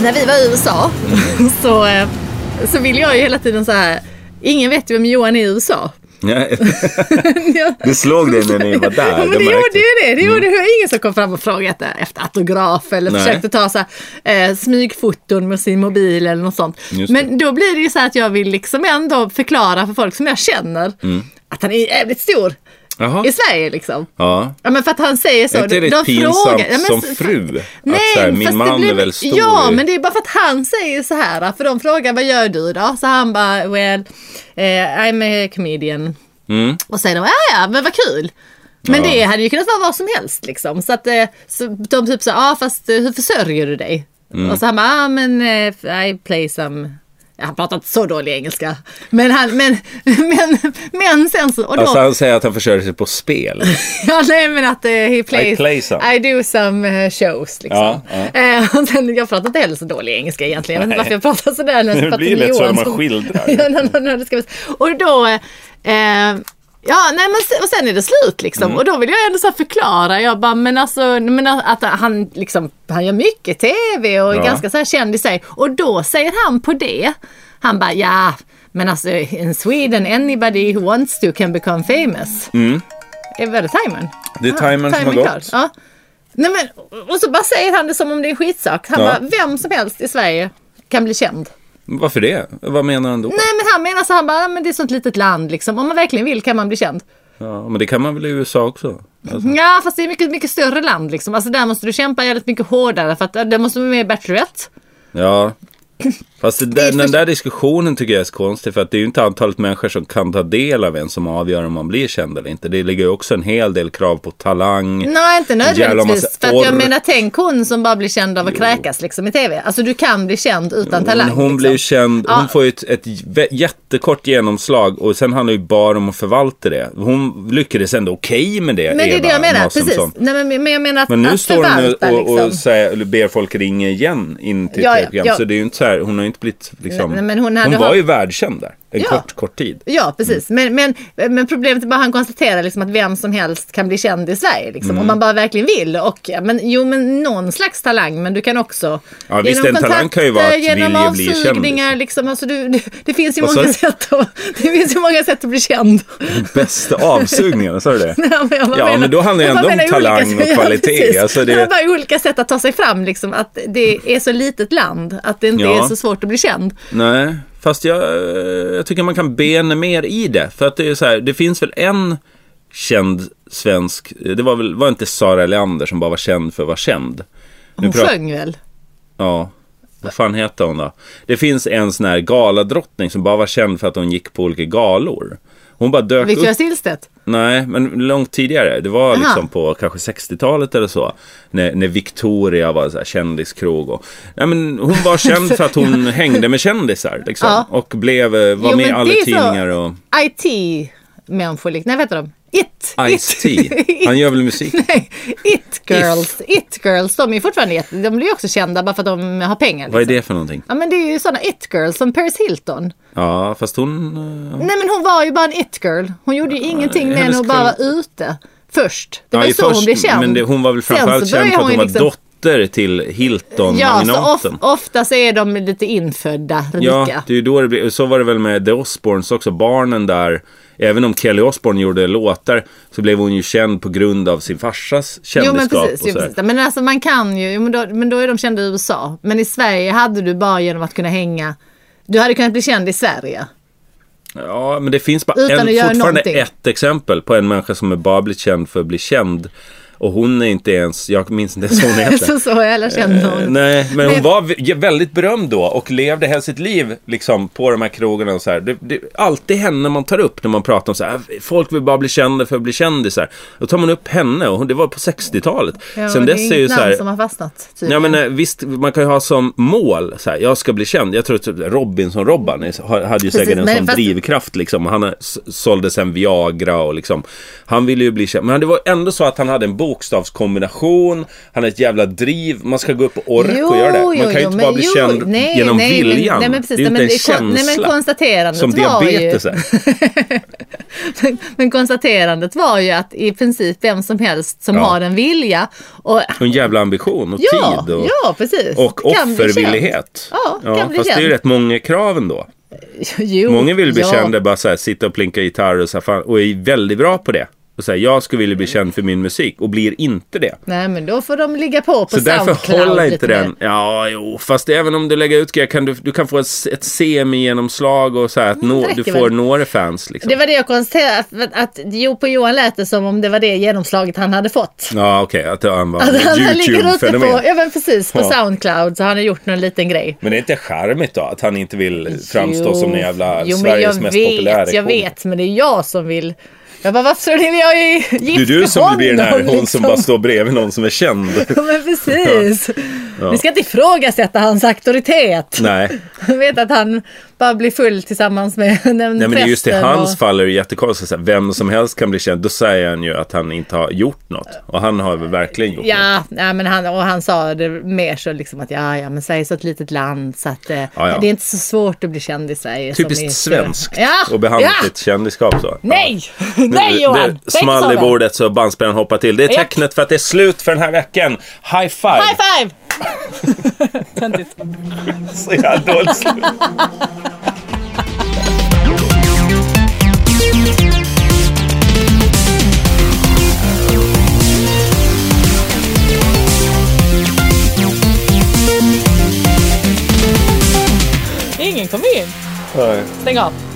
Speaker 2: när vi var i USA
Speaker 3: Mm.
Speaker 2: så, eh, så vill jag ju hela tiden så här, ingen vet ju vem Johan är i USA.
Speaker 3: Nej.
Speaker 2: Ja.
Speaker 3: Det slog dig när ni var där.
Speaker 2: Ja, men det
Speaker 3: märkte-
Speaker 2: gjorde ju det. Det gjorde mm. ingen som kom fram och frågade efter autograf eller
Speaker 3: Nej.
Speaker 2: försökte ta så här, eh, smygfoton med sin mobil eller något sånt.
Speaker 3: Just
Speaker 2: Men då blir det ju så här att jag vill liksom ändå förklara för folk som jag känner
Speaker 3: Mm.
Speaker 2: att han är jävligt stor
Speaker 3: Jaha.
Speaker 2: i Sverige liksom.
Speaker 3: Ja.
Speaker 2: Ja men för att han säger så.
Speaker 3: Är inte det
Speaker 2: De-
Speaker 3: lite
Speaker 2: de
Speaker 3: pinsamt
Speaker 2: frågar- Ja, men
Speaker 3: som
Speaker 2: så-
Speaker 3: fru?
Speaker 2: Nej,
Speaker 3: att så här,
Speaker 2: fast
Speaker 3: min
Speaker 2: det
Speaker 3: man
Speaker 2: blir-
Speaker 3: är väl stor?
Speaker 2: Ja, men det är bara för att han säger så här. För de frågar vad gör du då? Så han bara, well, eh, I'm a comedian.
Speaker 3: Mm.
Speaker 2: Och säger de, ja ja, men vad kul. Men
Speaker 3: Ja.
Speaker 2: det hade ju kunnat vara vad som helst liksom. Så att eh, så de typ så, ja ah, fast eh, hur försörjer du dig?
Speaker 3: Mm.
Speaker 2: Och så han bara, ah, men eh, I play some Ja, han pratar inte så dålig engelska. Men, han, men, men, men sen så... Och då,
Speaker 3: Alltså han säger att han försörjer sig på spel.
Speaker 2: Ja, nej men att eh, he plays,
Speaker 3: I play some.
Speaker 2: I do some eh, shows liksom.
Speaker 3: Ja, ja.
Speaker 2: Eh, och sen, jag pratar inte heller så dålig engelska egentligen. Jag vet inte varför jag pratar sådär. när jag
Speaker 3: Det
Speaker 2: pratar
Speaker 3: blir
Speaker 2: med
Speaker 3: lätt så när
Speaker 2: Johan
Speaker 3: man
Speaker 2: som-
Speaker 3: skildrar.
Speaker 2: ja, nej, nej, nej, det ska vi- och då, eh, eh, ja nej men se- och sen är det slut liksom.
Speaker 3: Mm.
Speaker 2: Och då vill jag ändå så här förklara. Jag bara, men alltså, men att han liksom, han gör mycket tv och är
Speaker 3: Ja.
Speaker 2: ganska så här känd i sig. Och då säger han på det, han bara, ja men alltså in Sweden anybody who wants to can become famous.
Speaker 3: Mm.
Speaker 2: Eh, Var det timern?
Speaker 3: Det är
Speaker 2: Ja,
Speaker 3: timern som har
Speaker 2: timern klar.
Speaker 3: gått.
Speaker 2: Ja. Nej, men, och så bara säger han det som om det är en skitsak. Han
Speaker 3: Ja.
Speaker 2: bara, vem som helst i Sverige kan bli känd.
Speaker 3: Varför det? Vad menar han då?
Speaker 2: Nej men han menar så han bara, "Ja, men det är ett sånt litet land liksom. Om man verkligen vill kan man bli känd.
Speaker 3: Ja, men det kan man väl i USA också? Alltså,
Speaker 2: Ja fast det är mycket, mycket större land liksom. Alltså där måste du kämpa jävligt mycket hårdare för att eh, där måste du vara med i Bachelorette.
Speaker 3: ja. Fast det
Speaker 2: är
Speaker 3: där,
Speaker 2: för-
Speaker 3: den där diskussionen tycker jag är så konstig. För att det är ju inte antalet människor som kan ta del av en som avgör om man blir känd eller inte. Det ligger ju också en hel del krav på talang.
Speaker 2: Nej inte
Speaker 3: Jävla
Speaker 2: nödvändigtvis.
Speaker 3: massa
Speaker 2: För att jag
Speaker 3: orr.
Speaker 2: menar tänk hon som bara blir känd av att kräkas liksom i tv. Alltså du kan bli känd utan talang.
Speaker 3: Men hon
Speaker 2: liksom.
Speaker 3: blir ju känd,
Speaker 2: Ja.
Speaker 3: hon får ju ett, ett vä- jättekort genomslag och sen handlar det ju bara om att förvalta det. Hon lyckades ändå okej med det.
Speaker 2: Men det är det jag menar, precis.
Speaker 3: Mårtensson.
Speaker 2: Nej, men, men jag menar att,
Speaker 3: Men nu
Speaker 2: att
Speaker 3: står hon
Speaker 2: förvalta
Speaker 3: och, och, och
Speaker 2: liksom.
Speaker 3: säger, eller ber folk ringa igen in till
Speaker 2: Ja, ja,
Speaker 3: tv-program.
Speaker 2: ja.
Speaker 3: Så det är ju inte så här, hon har ju inte blivit liksom.
Speaker 2: Nej, men hon hade
Speaker 3: var
Speaker 2: haft-
Speaker 3: ju världskänd där. En
Speaker 2: Ja.
Speaker 3: kort, kort tid.
Speaker 2: Ja, precis.
Speaker 3: Mm.
Speaker 2: Men, men, men problemet är bara att han konstaterar liksom att vem som helst kan bli känd i Sverige. Liksom,
Speaker 3: Mm.
Speaker 2: Om man bara verkligen vill. Och, ja, men, jo, men någon slags talang, men du kan också...
Speaker 3: Ja, visst, en talang kan ju vara att
Speaker 2: genom
Speaker 3: vilja bli känd,
Speaker 2: avsugningar, liksom. Alltså, du, det, det, finns ju
Speaker 3: Vad sa
Speaker 2: många
Speaker 3: du?
Speaker 2: sätt att, det finns ju många sätt att bli känd.
Speaker 3: Bästa avsugningen, sa du det?
Speaker 2: Ja, men, jag bara
Speaker 3: Ja, men då handlar det
Speaker 2: jag bara
Speaker 3: ändå om
Speaker 2: menar olika
Speaker 3: talang
Speaker 2: sätt-
Speaker 3: och kvalitet.
Speaker 2: precis.
Speaker 3: Alltså, det-
Speaker 2: det... är bara olika sätt att ta sig fram. Liksom, att det är så litet land, att det inte
Speaker 3: Ja.
Speaker 2: är så svårt att bli känd.
Speaker 3: Nej, fast jag, eh, jag tycker man kan bena mer i det. För att det är så här, det finns väl en känd svensk, eh, det var väl, var inte Sara Leander som bara var känd för att vara känd? Nu
Speaker 2: Hon
Speaker 3: pratar-
Speaker 2: sjöng väl?
Speaker 3: Ja. Vad fan heter hon då? Det finns en sån här galadrottning som bara var känd för att hon gick på olika galor. Hon bara dök
Speaker 2: Victoria
Speaker 3: upp.
Speaker 2: Silvstedt?
Speaker 3: Nej, men långt tidigare. Det var liksom på kanske 60-talet eller så. När, när Victoria var så här kändiskrog. Och, nej, men hon var känd för att hon hängde med kändisar. Liksom,
Speaker 2: Ja.
Speaker 3: Och blev, eh, var
Speaker 2: Jo,
Speaker 3: med i
Speaker 2: men
Speaker 3: alla
Speaker 2: det är så-
Speaker 3: tidningar. Och
Speaker 2: IT-människor, lik- nej vad heter de? It!
Speaker 3: Ice-T.
Speaker 2: It.
Speaker 3: Han gör väl musik?
Speaker 2: Nej, It girls, it girls, de är ju fortfarande jätte, de blir ju också kända bara för att de har pengar. Liksom.
Speaker 3: Vad är det för någonting?
Speaker 2: Ja men det är ju sådana it girls som Paris Hilton.
Speaker 3: Ja, fast hon... eh,
Speaker 2: Nej men hon var ju bara en it girl. Hon gjorde ju ingenting mer än
Speaker 3: hennes
Speaker 2: att bara vara
Speaker 3: kul-
Speaker 2: ute först. Det var
Speaker 3: ja,
Speaker 2: ju
Speaker 3: i
Speaker 2: så hon
Speaker 3: först-
Speaker 2: blev känd.
Speaker 3: Men det, hon var väl
Speaker 2: Sen så
Speaker 3: framförallt
Speaker 2: började
Speaker 3: känd för att hon var
Speaker 2: liksom-
Speaker 3: dotter till
Speaker 2: Ja, så
Speaker 3: Hilton-magnaten.
Speaker 2: of, ofta så är de lite infödda
Speaker 3: Ja,
Speaker 2: rika.
Speaker 3: det är ju då det blir, så var det väl med The Osbournes också, barnen där. Även om Kelly Osbourne gjorde låtar så blev hon ju känd på grund av sin farsas
Speaker 2: Jo men
Speaker 3: kändisskap.
Speaker 2: precis,
Speaker 3: och
Speaker 2: jo,
Speaker 3: så här.
Speaker 2: precis. Men alltså man kan ju, jo, men då, men då är de kända i USA. Men i Sverige hade du bara genom att kunna hänga, du hade kunnat bli känd i Sverige.
Speaker 3: Ja, men det finns bara
Speaker 2: Utan att
Speaker 3: en,
Speaker 2: göra
Speaker 3: fortfarande
Speaker 2: någonting.
Speaker 3: ett exempel på en människa som är bara blivit känd för att bli känd. Och hon är inte ens, jag minns inte ens vad hon heter.
Speaker 2: så så jävla känd
Speaker 3: Eh,
Speaker 2: hon.
Speaker 3: Nej, men hon
Speaker 2: Men-
Speaker 3: var v- väldigt berömd då och levde hela sitt liv liksom på de här krogarna och så här. Det, det är alltid henne man tar upp när man pratar om så här, "Äh, folk vill bara bli kända för att bli kändisar. Då tar man upp henne och hon- det var på 60-talet.
Speaker 2: Ja,
Speaker 3: Sen
Speaker 2: det
Speaker 3: dess
Speaker 2: inget
Speaker 3: är ju så
Speaker 2: namn
Speaker 3: här,
Speaker 2: som har fastnat. typ.
Speaker 3: Ja,
Speaker 2: tydligen.
Speaker 3: men, eh, visst, man kan ju ha som mål, så här, jag ska bli känd. Jag tror att Robinson-Robban är- ha- hade ju säkert en
Speaker 2: men
Speaker 3: sån
Speaker 2: fast-
Speaker 3: drivkraft. eh, Liksom. Han har- s- sålde sen Viagra och liksom, han ville ju bli känd. Men det var ändå så att han hade en bokstavskombination, han har ett jävla driv, man ska gå upp och ork
Speaker 2: Jo,
Speaker 3: och göra det. Man
Speaker 2: jo,
Speaker 3: kan ju
Speaker 2: jo,
Speaker 3: inte
Speaker 2: men
Speaker 3: bara bli
Speaker 2: jo,
Speaker 3: känd
Speaker 2: nej,
Speaker 3: genom
Speaker 2: nej, men-
Speaker 3: viljan.
Speaker 2: nej, men precis,
Speaker 3: det är inte
Speaker 2: men
Speaker 3: en
Speaker 2: det är kon-
Speaker 3: känsla.
Speaker 2: nej, men konstaterandet
Speaker 3: som
Speaker 2: var ju-
Speaker 3: diabetes är.
Speaker 2: Men- Men konstaterandet var ju att i princip vem som helst som
Speaker 3: Ja.
Speaker 2: har en vilja och
Speaker 3: Och en jävla ambition och
Speaker 2: ja,
Speaker 3: tid. Och...
Speaker 2: ja precis.
Speaker 3: Och
Speaker 2: Kan bli känd.
Speaker 3: offervillighet.
Speaker 2: Ja, kan bli
Speaker 3: fast det är ju
Speaker 2: känd.
Speaker 3: rätt många krav ändå.
Speaker 2: Jo,
Speaker 3: Många vill bli
Speaker 2: ja.
Speaker 3: kända bara så här, sitta och plinka gitarr och, så här, fan, och är väldigt bra på det. Och säga jag skulle vilja bli
Speaker 2: Mm.
Speaker 3: känd för min musik och blir inte det.
Speaker 2: Nej men då får de ligga på på
Speaker 3: Så därför
Speaker 2: Soundcloud
Speaker 3: håller
Speaker 2: lite
Speaker 3: inte
Speaker 2: mer.
Speaker 3: den. Ja, jo, fast även om du lägger ut grejer kan du, du kan få ett, ett semi-genomslag och så här att nå,
Speaker 2: Mm, det
Speaker 3: du
Speaker 2: räcker
Speaker 3: får
Speaker 2: väl.
Speaker 3: några fans liksom.
Speaker 2: Det var det jag konstaterade, att, att jo, på Johan lät det som om det var det genomslaget han hade fått.
Speaker 3: Ja, okej, att han var
Speaker 2: Att han ligger ute på,
Speaker 3: Mm. YouTube-fenomen.
Speaker 2: ja men precis, på
Speaker 3: Ja.
Speaker 2: Soundcloud så har han har gjort någon liten grej.
Speaker 3: Men det är inte charmigt då, att han inte vill framstå som en jävla
Speaker 2: jo, men
Speaker 3: Sveriges
Speaker 2: jag
Speaker 3: mest
Speaker 2: vet,
Speaker 3: populära
Speaker 2: Jag
Speaker 3: komiker.
Speaker 2: vet, men det är jag som vill. Jag bara, varför vill jag ju gift
Speaker 3: Det är du som vill bli den här, hon
Speaker 2: honom,
Speaker 3: som
Speaker 2: liksom?
Speaker 3: bara står bredvid någon som är känd.
Speaker 2: Ja, men precis. Vi ska inte ifrågasätta hans auktoritet.
Speaker 3: Nej.
Speaker 2: Jag vet att han bara blir full tillsammans med den
Speaker 3: Nej men det är just i
Speaker 2: prästen
Speaker 3: hans
Speaker 2: och...
Speaker 3: fall är det jättekonstigt. så här, Vem som helst kan bli känd. Då säger han ju att han inte har gjort något. Och han har väl verkligen gjort något.
Speaker 2: Ja, nej, men han, och han sa det mer så liksom att ja, ja, men Sverige är så ett litet land så att eh,
Speaker 3: ja.
Speaker 2: det är inte så svårt att bli känd i Sverige. som i-
Speaker 3: Typiskt svenskt
Speaker 2: Ja,
Speaker 3: och behandla
Speaker 2: ja.
Speaker 3: sitt kändisskap så.
Speaker 2: Nej,
Speaker 3: Nu-
Speaker 2: nej Johan!
Speaker 3: Nu
Speaker 2: Tänk
Speaker 3: small i
Speaker 2: sådant.
Speaker 3: bordet så bandspelaren hoppar till. Det är
Speaker 2: Ja.
Speaker 3: tecknet för att det är slut för den här veckan. High five!
Speaker 2: High five! Töntigt.
Speaker 3: Så jävla dåligt slut.
Speaker 2: Ingen kom in. Stäng av.